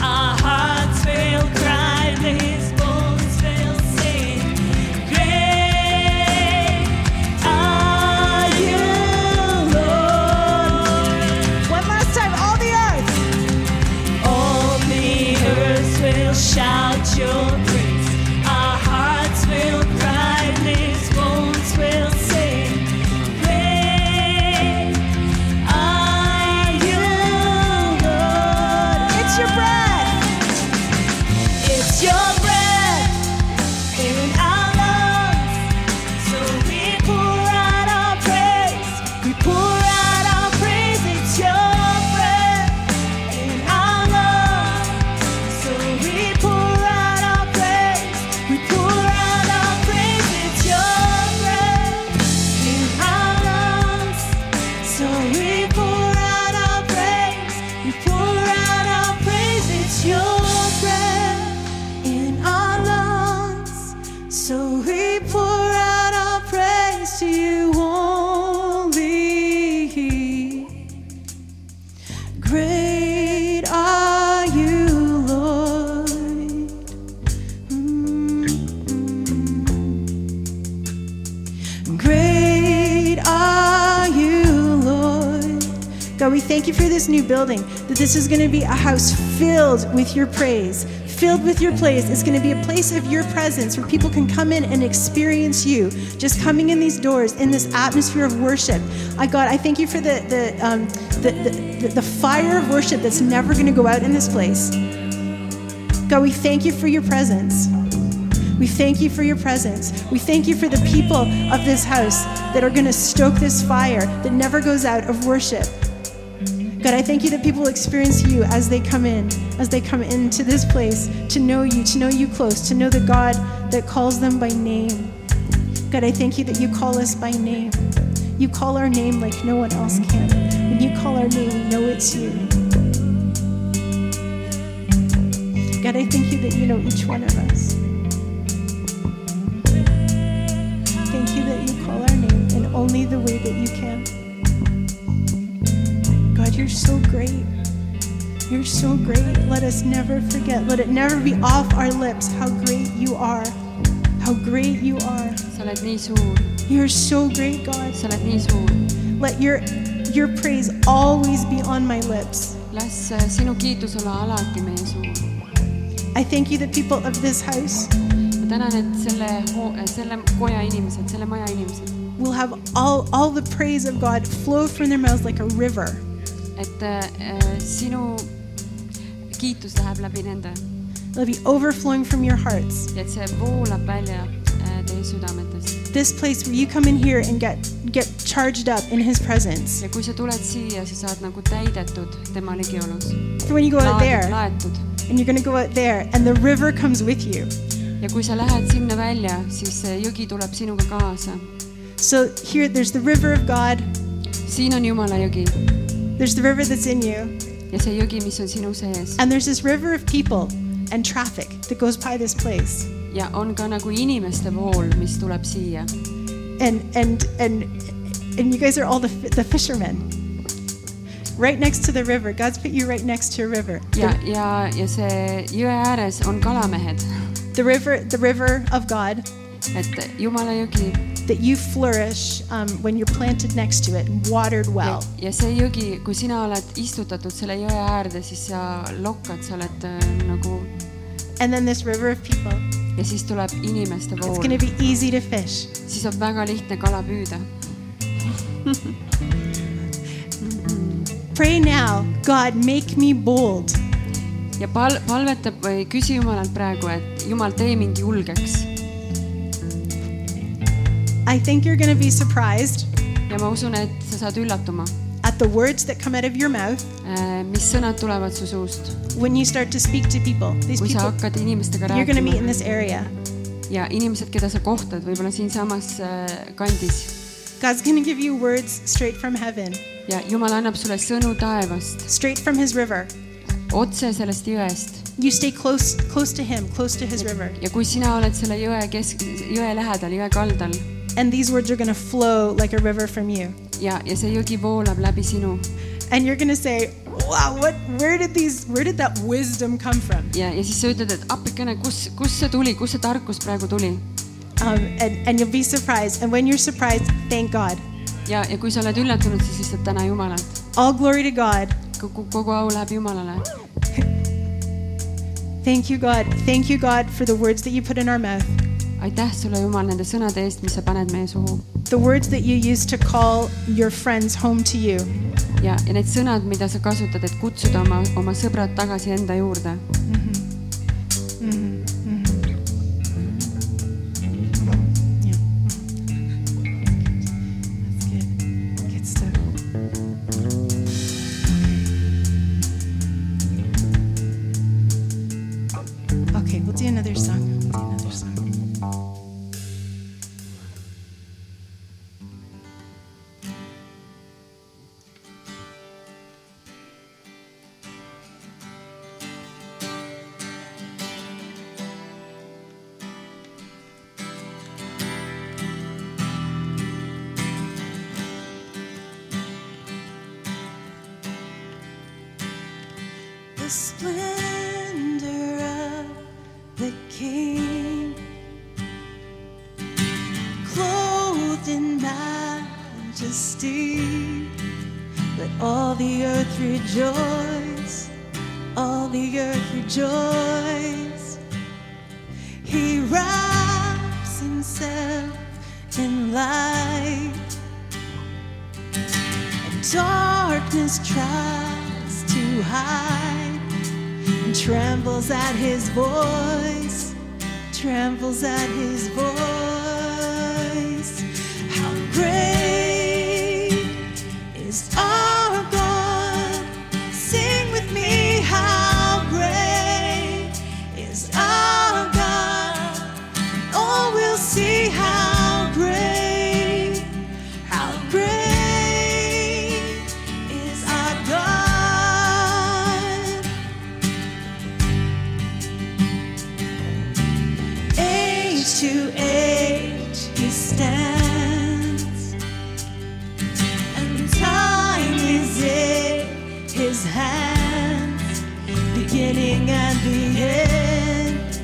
G: Our hearts will cry, these bones will sing. Great are you, Lord.
H: One last time, all the earth.
G: All the earth will shout your praise. Our hearts will cry, these bones will sing. Great are you, Lord.
H: It's your breath.
G: It's your breath in our lungs. So we pour out our praise. We pour out our praise. It's your breath in our lungs. So we pour out our praise. We pour out our praise. It's your breath in our lungs. So we pour out our praise. We pour out our praise. It's your breath in our lungs. So we pour out our praise to you only. Great are you, Lord. Mm. Great are you, Lord.
H: God, we thank you for this new building, that this is going to be a house filled with your praise, filled with your praise. It's going to be a place of your presence where people can come in and experience you, just coming in these doors, in this atmosphere of worship. I, God, I thank you for the, the, um, the, the, the- the fire of worship that's never going to go out in this place. God, we thank you for your presence. We thank you for your presence. We thank you for the people of this house that are going to stoke this fire that never goes out of worship. God, I thank you that people will experience you as they come in, as they come into this place to know you, to know you close, to know the God that calls them by name. God, I thank you that you call us by name. You call our name like no one else can. When you call our name, we know it's you. God, I thank you that you know each one of us. Thank you that you call our name in only the way that you can. God, you're so great. You're so great. Let us never forget. Let it never be off our lips how great you are. How great you are.
F: sa oled nii suur ,
H: You're so great, God.
F: sa oled nii suur .
H: Let your your praise always be on my lips.
F: las äh, sinu kiitus olla alati meie suur .
H: I thank you, the people of this house
F: ma tänan , et selle ,
D: äh,
F: selle koja inimesed , selle maja inimesed ,
H: will have all all the praise of God flow from their mouths like a river.
F: et äh, sinu kiitus läheb läbi nende
H: It'll be overflowing from your hearts.
F: ja et see voolab välja äh, teie südametest .
H: This place where you come in here and get get charged up in His presence.
F: ja kui sa tuled siia , sa saad nagu täidetud tema ligiolus .
H: For when you go out there,
F: laetud
H: and you're going to go out there and the river comes with you
F: ja kui sa lähed sinna välja , siis see jõgi tuleb sinuga kaasa .
H: so here there's the river of god
F: siin on Jumala jõgi
H: there's the river that's in you
F: ja see jõgi , mis on sinu sees
H: and there's this river of people and traffic that goes by this place
F: ja on ka nagu inimeste vool , mis tuleb siia
H: and and and and you guys are all the, fi- the fishermen right next to the river god's put you right next to a river
F: ja , ja , ja see jõe ääres on kalamehed ,
H: the river the river of god
F: et Jumala jõgi
H: that you flourish um, when you're planted next to it and watered
F: ja,
H: well
F: ja see jõgi , kui sina oled istutatud selle jõe äärde , siis sa lokkad , sa oled äh, nagu
H: and then this river of people
F: ja siis tuleb inimeste
H: it's
D: Oh,
F: vool
H: going to be easy to fish
F: siis on väga lihtne kala püüda .
H: pray now god make me bold
F: ja pal- , palvetab või küsi Jumalalt praegu , et Jumal , tee mind julgeks
H: I think you're going to be surprised
F: ja ma usun , et sa saad üllatuma ,
H: at the words that come out of your mouth
F: mis sõnad tulevad su suust ,
H: when you start to speak to people. These
F: kui sa
H: people
F: hakkad inimestega
H: you're going to meet in
F: rääkima
H: this area.
F: ja inimesed , keda sa kohtad võib-olla siinsamas äh, kandis
H: God's going to give you words straight from heaven,
F: ja Jumal annab sulle sõnu taevast ,
H: straight from his river.
F: otse sellest jõest
H: You stay close close to him, close to his river,
F: ja kui sina oled selle jõe kesk , jõe lähedal , jõe kaldal
H: and these words are going to flow like a river from you.
F: ja , ja see jõgi voolab läbi sinu and you're going to say, "Wow, what where did these where did that wisdom come from?"
D: ja , ja siis sa ütled , et appikene , kus , kust see tuli , kust see tarkus praegu tuli
F: Um, and, and you'll be surprised. And when you're surprised, thank God.
D: ja , ja kui sa oled üllatunud , siis lihtsalt täna Jumalat .
F: All glory to God.
D: kogu , kogu au läheb Jumalale .
F: Thank you, God. Thank you, God, for the words that you put in our mouth,
D: aitäh sulle , Jumal , nende sõnade eest , mis sa paned meie suhu
F: the words that you use to call your friends home to you.
D: ja , ja need sõnad , mida sa kasutad , et kutsuda oma , oma sõbrad tagasi enda juurde .
F: Yeah. That's good. Good stuff. Okay, we'll do another song. We'll do another song.
G: The splendor of the King, clothed in majesty. Let all the earth rejoice, all the earth rejoice. He wraps himself in light darkness tries to hide and trembles at his voice, trembles at his voice. How great is our God? Sing with me, how great is our God? Oh, we'll see how great how great is our God? Age to age he stands, and time is in his hands, beginning and the end,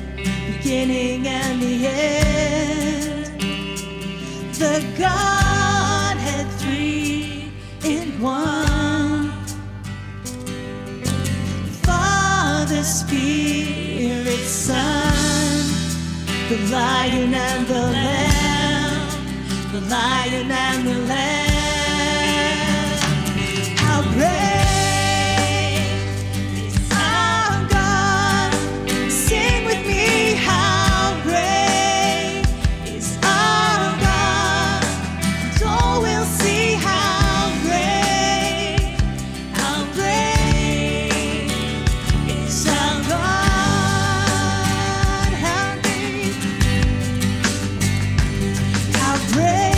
G: beginning and the end the Godhead three in one. Father, Spirit, Son, the Lion and the Lamb, the Lion and the Lamb. How great is our God? Sing with me, how great is our God? And all will see how great, how great is our God. How great, how great.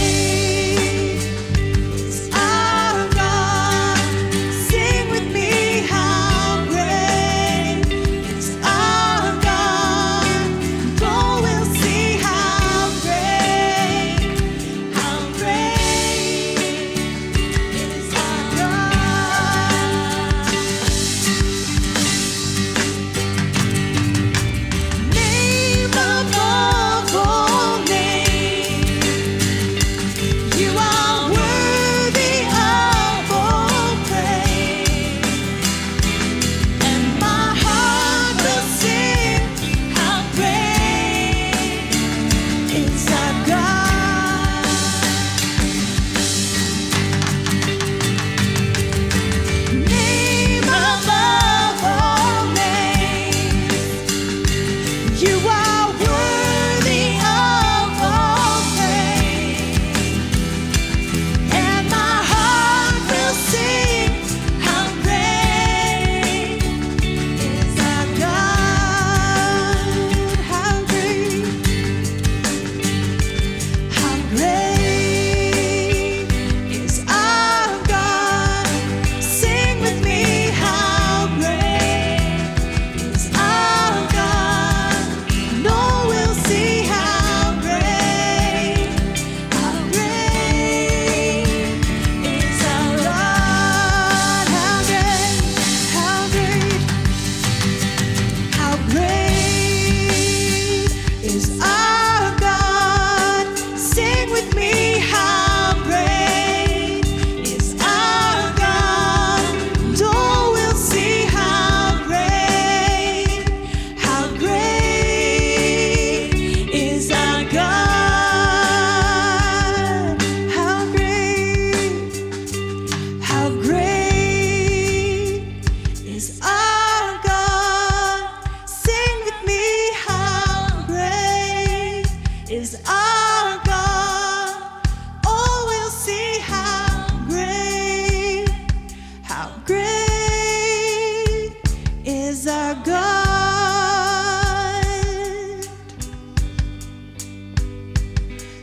F: our God.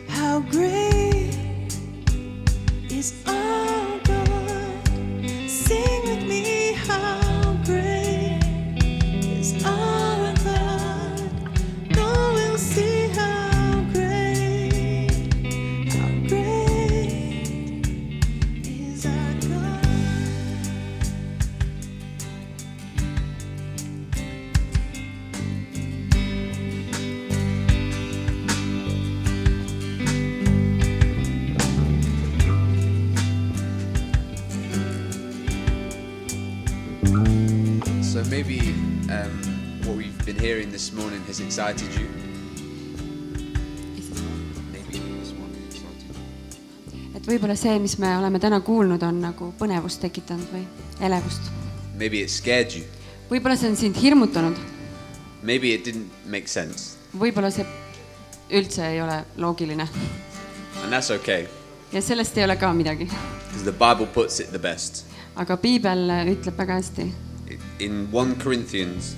F: How great is our God. Sing with me, how great is our God. No, we'll see how great, how great is our God.
C: So maybe um, what we've been hearing this morning has excited you. Maybe this one excited you.
D: et võib-olla see , mis me oleme täna kuulnud , on nagu põnevust tekitanud või elevust .
C: Maybe it scared you.
D: võib-olla see on sind hirmutanud ,
C: Maybe it didn't make sense.
D: võib-olla see üldse ei ole loogiline
C: And that's okay,
D: ja sellest ei ole ka midagi .
C: because the Bible puts it the best.
D: aga piibel ütleb väga hästi .
C: It- In 1 Corinthians,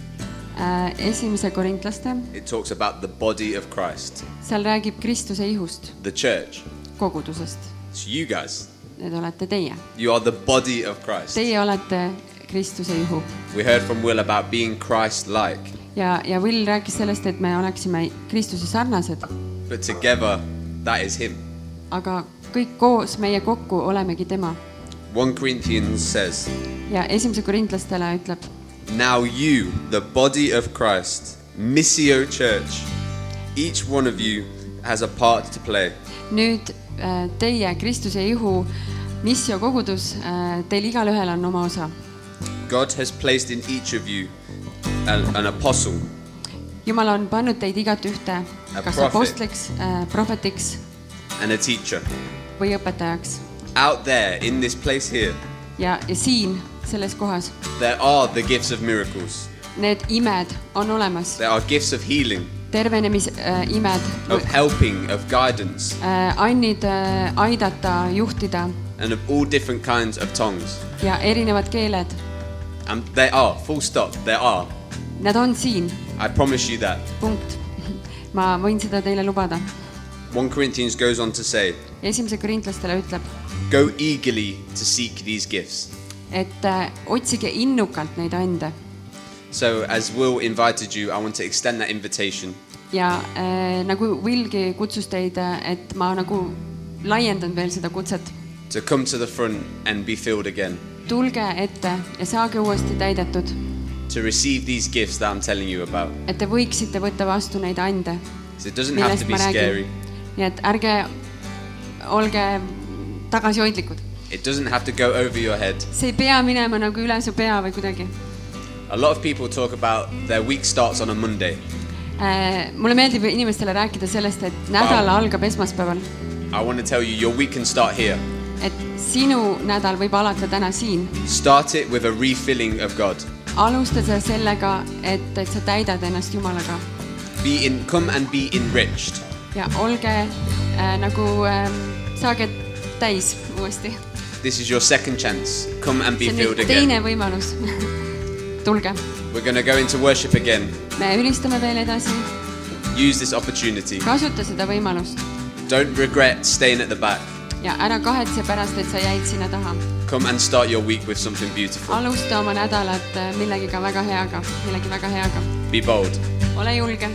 D: Äh, esimese korintlaste ,
C: it talks about the body of Christ,
D: seal räägib Kristuse ihust ,
C: the church.
D: kogudusest .
C: It's you guys.
D: Need olete teie ,
C: You are the body of Christ.
D: teie olete Kristuse ihu
C: We heard from Will about being Christ like,
D: ja , ja Will rääkis sellest , et me oleksime Kristuse sarnased ,
C: but together, that is Him.
D: aga kõik koos meie kokku olemegi tema
C: 1 Corinthians says,
D: ja esimese korintlastele ütleb
C: Now you, the body of Christ, Missio Church, each one of you has a part to play.
D: nüüd äh, teie Kristuse ihu missio kogudus , teil igalühel on oma osa .
C: God has placed in each of you an, an apostle,
D: jumal on pannud teid igatühte , kas
C: prophet.
D: apostliks , prohvetiks
C: and a teacher.
D: või õpetajaks
C: Out there in this place here,
D: ja , ja siin selles kohas
C: there are the gifts of miracles,
D: need imed on olemas ,
C: there are gifts of healing,
D: tervenemisimed
C: of helping, of guidance,
D: annid äh, aidata , juhtida
C: and of all different kinds of tongues.
D: ja erinevad keeled ,
C: And there are, full stop, there are.
D: nad on siin ,
C: I promise you that.
D: punkt . ma võin seda teile lubada .
C: 1 Corinthians goes on to say,
D: esimese korintlastele ütleb
C: Go eagerly to seek these gifts.
D: et äh, otsige innukalt neid ande
C: So, as Will invited you, I want to extend that invitation
D: ja äh, nagu Vilgi kutsus teid , et ma nagu laiendan veel seda kutset .
C: to come to the front and be filled again,
D: tulge ette ja saage uuesti täidetud ,
C: to receive these gifts that I'm telling you about.
D: et te võiksite võtta vastu neid ande ,
C: 'Cause it doesn't have to
D: millest
C: be
D: ma
C: scary,
D: räägin . nii et ärge olge tagasihoidlikud ,
C: it doesn't have to go over your head.
D: see ei pea minema nagu üle su pea või kuidagi
C: A lot of people talk about their week starts on a Monday.
D: äh, . mulle meeldib inimestele rääkida sellest , et nädal
C: Vau.
D: algab esmaspäeval ,
C: I want to tell you, your week can start here.
D: et sinu nädal võib alata täna siin
C: Start it with a refilling of God.
D: alusta sa sellega , et , et sa täidad ennast Jumalaga
C: Be in, come and be enriched.
D: ja olge äh, nagu äh, , saage täis uuesti .
C: This is your second chance. Come and be
D: see on
C: filled
D: nüüd
C: again.
D: teine võimalus . tulge ,
C: We're going to go into worship again.
D: me ülistame veel edasi ,
C: Use this opportunity.
D: kasuta seda võimalust
C: Don't regret staying at the back.
D: ja ära kahetse pärast , et sa jäid sinna taha .
C: Come and start your week with something beautiful.
D: alusta oma nädalat äh, millegiga väga heaga , millegi väga heaga .
C: Be bold.
D: ole julge